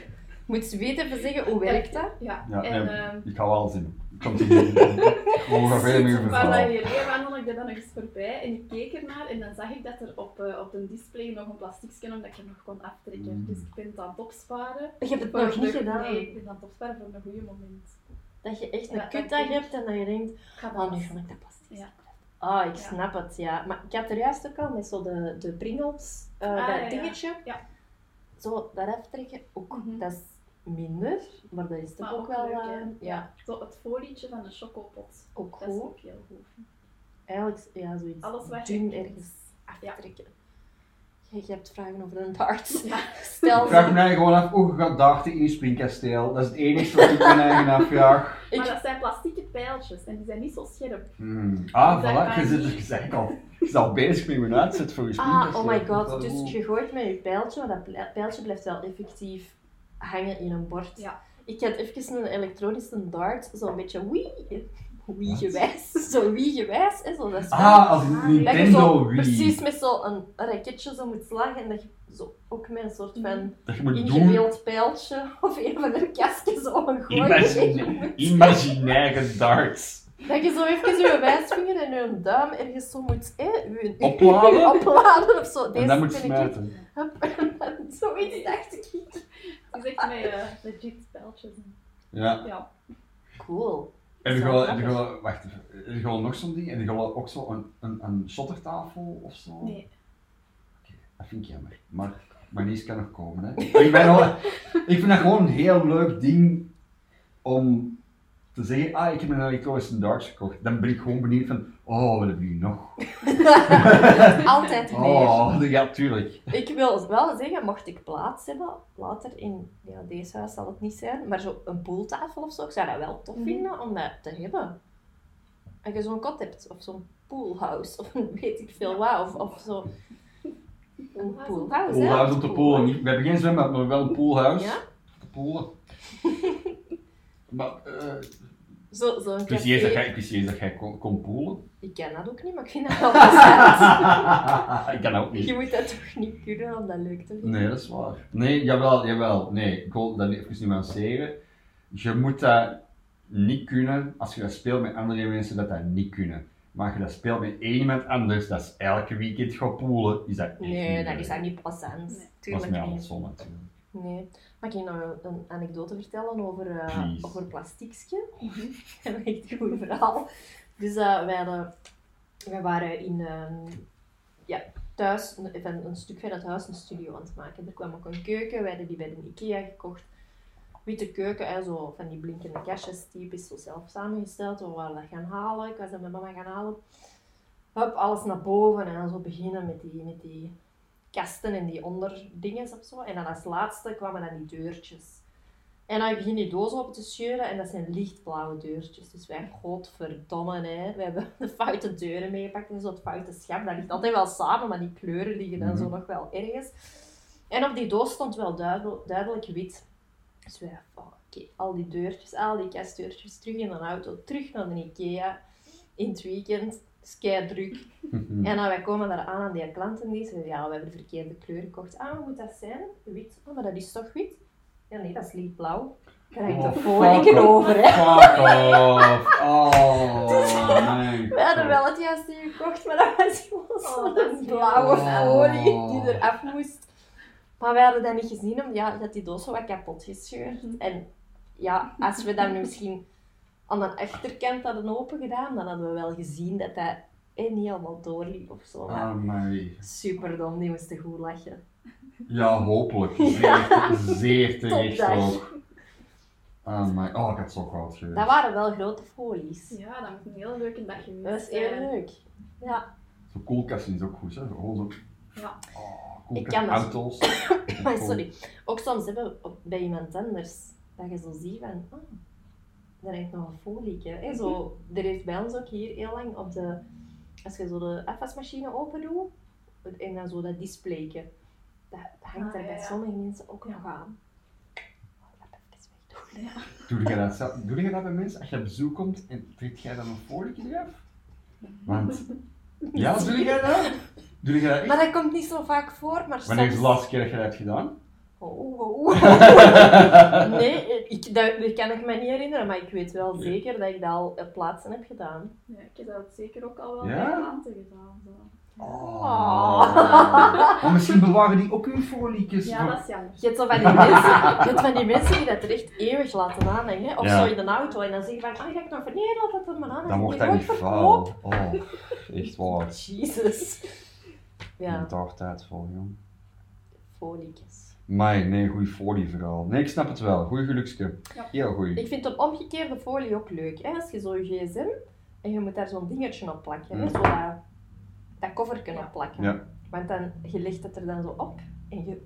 Moet ze weten even zeggen, hoe werkt dat?
ja,
Ja,
en
nee.
ehm,
Ik ga wel zien. Continu. Gewoon ga verder met je
een paar dagen
verhaal.
geleden wandelde ik er dan nog eens voorbij en ik keek ernaar en dan zag ik dat er op, eh, op een display nog een plastiekje omdat ik hem nog kon aftrekken.
Mm.
Dus ik ben het aan het opsparen.
Je hebt het
Voor
nog niet
de-
gedaan.
Nee, ik ben aan het opsparen voor een goede moment.
Dat je echt
Ja,
een
dat
kutdag
denk ik.
hebt en dat je denkt,
Ik ga
oh,
dat
nu
als-
ga ik dat plastic.
Ja.
Ah, ik
Ja.
snap het, ja. Maar ik had er juist ook al met zo de, de pringels, eh,
Ah,
dat
ja, ja.
dingetje.
Ja.
Zo, dat aftrekken, ook,
Mhm.
dat is minder, maar dat is toch
Maar
ook,
ook
wel,
leuk,
eh,
hè?
ja.
Zo het folietje van de chocopot.
ook
Dat is
goed.
ook heel goed.
Eigenlijk, ja, zoiets
Alles wat je
dun
kent.
ergens
Ja.
aftrekken. Je, je hebt vragen over een darts.
Ja.
Stel,
Ik vraag mij gewoon af hoe je gaat dachten in je springkasteel. Dat is het enige wat ik mijn eigen afvraag.
Ik-
Maar dat zijn plastieke pijltjes en die zijn niet zo scherp.
Hmm. Ah,
Dat kan
voilà. Je zit
niet.
je zit eigenlijk al, je zit al bezig met mijn uitzet voor je
Ah,
springkasteel.
oh my god.
Dat is
Dus
goed.
je gooit met je pijltje, maar dat pla- pijltje blijft wel effectief hangen in een bord.
Ja.
Ik had even een elektronische dart, zo'n beetje wie, wie
Wat?
gewijs, zo wie gewijs, hè, zo dat spel.
Ah, als
Ah,
een
nee.
dat je zo
Nintendo Wii.
precies met zo'n raketje zo moet slagen en dat je zo ook met een soort van
Dat je moet doen.
ingebeeld pijltje of een van de kastjes zo een gooi.
Imagine, imaginaire darts.
Dat je zo even je wijsvinger en je duim ergens zo moet hè, je-
Opladen?
opladen of zo.
En
Deze
dat moet
vind ik
smijten.
Hup, en dan Zoiets dacht ik.
Het is echt met eh, legit pijltjes.
Ja.
Ja.
Cool.
En
Zo
er gaan, er
grappig.
gaan, wacht even, er gaan nog zo'n ding en er gaan ook zo een, een, een shottertafel of zo.
Nee.
Dat vind ik jammer. Maar, maar niets kan nog komen. Hè. ik, ben wel- ik vind dat gewoon een heel leuk ding om te zeggen, ah, ik heb een Electronics and Darks gekocht, dan ben ik gewoon benieuwd van, oh, wat heb je nu nog?
Altijd meer.
Oh, ja, tuurlijk.
Ik wil wel zeggen, mocht ik plaats hebben, later in ja, deze huis zal het niet zijn, maar zo een pooltafel of zo, ik zou dat wel tof
Mhm.
vinden om dat te hebben. Als je zo'n kot hebt, of zo'n poolhouse, of een weet ik veel wat, of, of zo. Een poolhouse, hè?
Poolhuis op de polen. We hebben geen zwembad, maar wel een poolhuis.
Ja?
Polen. maar, eh,
Zo- Zo'n
ik wist niet eens dat
café.
jij- ik wist niet eens dat jij kon, kon poelen.
Ik ken dat ook niet, maar ik vind dat wel plezant.
ik kan ook niet.
Je moet dat toch niet kunnen om dat leuk te vinden?
Nee, dat is waar. Nee, jawel, jawel. Nee, ik wil dat even nuanceren. Je moet dat niet kunnen als je dat speelt met andere mensen, dat dat niet kunnen. Maar als je dat speelt met één iemand anders, dat is elke weekend gaan poelen, is dat echt
Nee,
niet
dat
leuk.
is dat niet plezant.
Nee.
Dat is
eh, Tuurlijk
mij
niet.
andersom natuurlijk.
Nee. Mag ik nog een anekdote vertellen over, eh,
Please.
over plastiekje? Dat is echt een goed verhaal. Dus eh, wij, hadden, wij waren in, ehm, ja, thuis, een- van een stuk van het huis, een studio aan het maken. Er kwam ook een keuken, wij hadden die bij de IKEA gekocht. Witte keuken, hè, zo van die blinkende kastjes, typisch zo zelf samengesteld. We waren dat gaan halen, ik was dat met mama gaan halen. Hup, alles naar boven en dan zo beginnen met die, met die kasten en die onderdingen of zo. En dan als laatste kwamen dan die deurtjes. En dan begin die dozen op te scheuren en dat zijn lichtblauwe deurtjes. Dus wij, godverdomme, hè, we hebben de foute deuren meegepakt en zo het foute schap. Dat ligt altijd wel samen, maar die kleuren liggen dan zo
Mhm.
nog wel ergens. En op die doos stond wel duidel- duidelijk wit. Dus wij, oh, oké, al die deurtjes, al die kastdeurtjes, terug in een auto, terug naar de Ikea. In het weekend, is druk.
Mm.
En dan wij komen daar aan aan die klantendienst. En ja, we hebben de verkeerde kleur gekocht. Ah, wat moet dat zijn? Wit. Ah, maar dat is toch wit? Ja, nee, dat is lichtblauw. Daar hangt
Oh,
de
fuck
voorlikken
off.
over, hè.
Fuck off! Oh, nee.
We hadden wel het juiste gekocht, maar dat was gewoon
Oh, dat is
zo'n
heel
blauwe
erg.
folie die
Oh.
eraf moest. Maar wij hadden dat niet gezien, omdat ja, dat die doos zo wat kapot gescheurd.
Mhm.
En ja, als we dat nu misschien aan de achterkant hadden opengedaan, dan hadden we wel gezien dat dat eh, niet allemaal doorliep of zo. Maar
Ah, nee.
Super dom, die moesten goed lachen.
Ja, hopelijk. Zeer, zeer terecht
Topdag.
ook. Ah, maar oh, ik had zo koud geweest.
Dat waren wel grote folies.
Ja, dat moet een heel leuke dag geweest
Dat is
zijn.
heel leuk.
Zo'n koelkasten is ook goed, hè? Gewoon zo.
Ja.
Oh,
Ik kan dat.
koelkastauto's.
Maar sorry. Ook soms hebben we op- bij iemand anders dat je zo ziet van, ah, daar heeft nog een folieke. Hè? Zo, er heeft bij ons ook hier heel lang op de, als je zo de afwasmachine open doet en dan zo dat displayke, dat hangt
Ah,
er
ja,
bij
ja.
sommige mensen ook
Ja.
nog aan. Ik ga dat even wegdoen.
Doe je dat, zelf- doe je dat bij mensen? Als je op bezoek komt, en trekt jij dan een voorlichtje af? Want... Ja, doe jij dat? Doe jij dat echt?
Maar dat komt niet zo vaak voor, maar
Wanneer is
soms...
de laatste keer dat je dat hebt gedaan?
Oh, oh, oh. Nee, ik, dat, dat kan ik me niet herinneren, maar ik weet wel
Ja.
zeker dat ik dat al op plaatsen heb gedaan.
Ja, ik heb dat zeker ook al wel
Ja?
bij klanten gedaan. Zo.
Oh.
Maar misschien bewaren die ook hun voorliekjes.
Ja,
voor-
dat is jammer.
Je hebt, zo van die mensen, je hebt van die mensen die dat er echt eeuwig laten aanhangen. hè. Of
Ja.
zo in een auto en dan zeggen van, ah, ga ik nog van, nee, laat dat er maar aan.
Dan wordt dat niet vuil. Oh, echt waar.
Jezus.
Ja.
Ja,
Met hardheid vol, jong.
foliekjes.
Maar nee, goeie folie verhaal. Nee, ik snap het wel. Goeie gelukske.
Ja.
Heel goeie.
Ik vind een omgekeerde folie ook leuk. Hè? Als je zo'n gsm en je moet daar zo'n dingetje op plakken. Hè?
Mm.
Zo dat, dat cover kunnen plakken.
Ja.
Want dan, je legt het er dan zo op en je,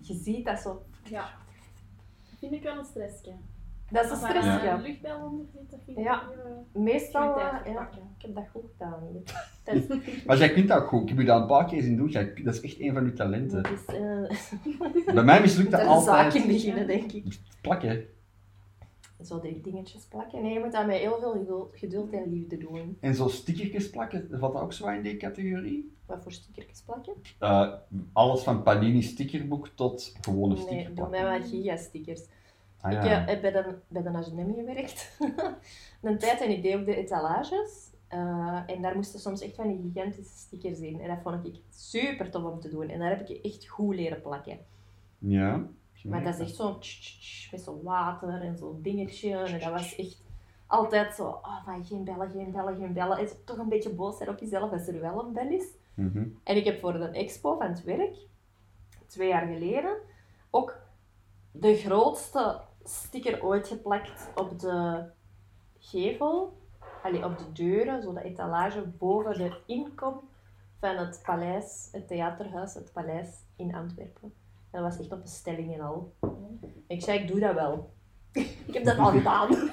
je ziet dat zo.
Ja. Dat vind ik wel een stressje.
Dat is een
Als daar een
stressje.
eh, luchtbel onder zit, dat vind ik
Ja.
wel, eh,
Meestal,
geen
eh,
tijd voor
ja,
pakken.
ik heb dat goed gedaan. Dat is,
Maar jij kunt dat ook goed. Ik heb je dat een paar keer zien doen. Jij- Dat is echt een van uw talenten.
dat is eh,
Bij mij mislukt dat
daar de zaak in
altijd.
beginnen, denk ik.
Plakken.
Zo die dingetjes plakken. Nee, je moet dat met heel veel geduld, geduld en liefde doen.
En zo stickertjes plakken, valt dat ook zo in die categorie?
Wat voor stickertjes plakken?
Eh, alles van Panini stickerboek tot gewone
Nee,
sticker
bij
plakken.
mij waren giga-stickers.
Ah,
Ik eh, heb bij de, bij de H&M gewerkt. een tijd en ik deed ook de etalages. Eh, en daar moesten soms echt van die gigantische stickers in. En dat vond ik super tof om te doen. En daar heb ik echt goed leren plakken.
Ja.
Maar dat is echt zo'n tsch, tsch, tsch, met zo'n water en zo'n dingetje. En dat was echt altijd zo, oh, van geen bellen, geen bellen, geen bellen. En zo toch een beetje boos zijn op jezelf als er wel een bel is.
Mhm.
En ik heb voor de expo van het werk, twee jaar geleden, ook de grootste sticker ooit geplakt op de gevel, allee, op de deuren, zo de etalage boven de inkom van het paleis, het theaterhuis, het paleis in Antwerpen. En dat was echt op een stelling en al. Ik zei, ik doe dat wel. ik heb dat al gedaan. En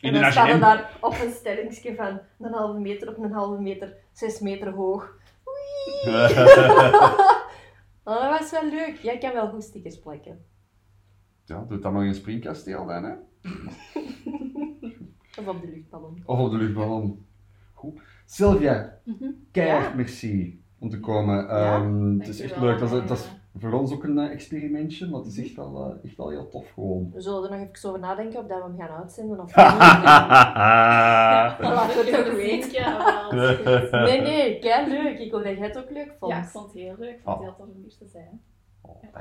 In een
dan staan we
H&M.
daar op een stellingsje van een halve meter op een halve meter, zes meter hoog. Maar dat was wel leuk. Jij kan wel goed stickers plakken.
Ja, doe dat maar in een springkasteel dan, hè?
Of op de luchtballon.
Of op de luchtballon. Goed. Sylvia,
Mhm.
keihard merci om te komen.
Ja,
Ehm, het is echt
dankjewel.
leuk. Dat is, dat is voor ons ook een eh, experimentje, maar het is echt wel, eh, echt wel heel tof gewoon.
We zullen er nog even over nadenken of dat we hem gaan uitzenden of niet. Laten we het ook weten.
Ja, wel.
Nee, nee, kei leuk. Ik hoop dat jij het ook leuk vond.
Ja, ik vond het heel leuk. Ik vond het heel tof om hier te zijn.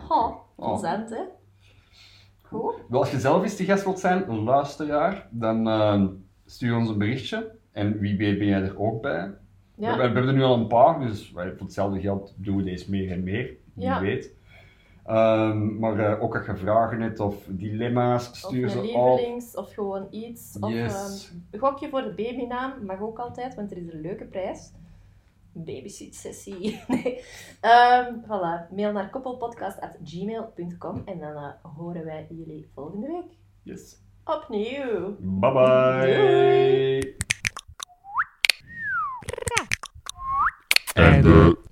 Oh,
Oh.
plezant, hè? Goed.
Wel, Als je zelf eens de gast wilt zijn, een luisteraar, dan ehm, stuur ons een berichtje. En wie weet ben jij er ook bij. We, we
Ja,
hebben er nu al een paar, dus wij- voor hetzelfde geld doen we deze meer en meer. Wie
Ja.
weet. Ehm, maar eh, ook als je vragen hebt of dilemma's,
of
stuur
een
ze op.
lievelings, of gewoon iets. Of
Yes.
ehm, een gokje voor de babynaam, mag ook altijd, want er is een leuke prijs. Een Babysit-sessie. Nee. Ehm, voilà, mail naar koppelpodcast.gmail.com en dan eh, horen wij jullie volgende week
Yes.
opnieuw.
Bye bye.
Doei.
And the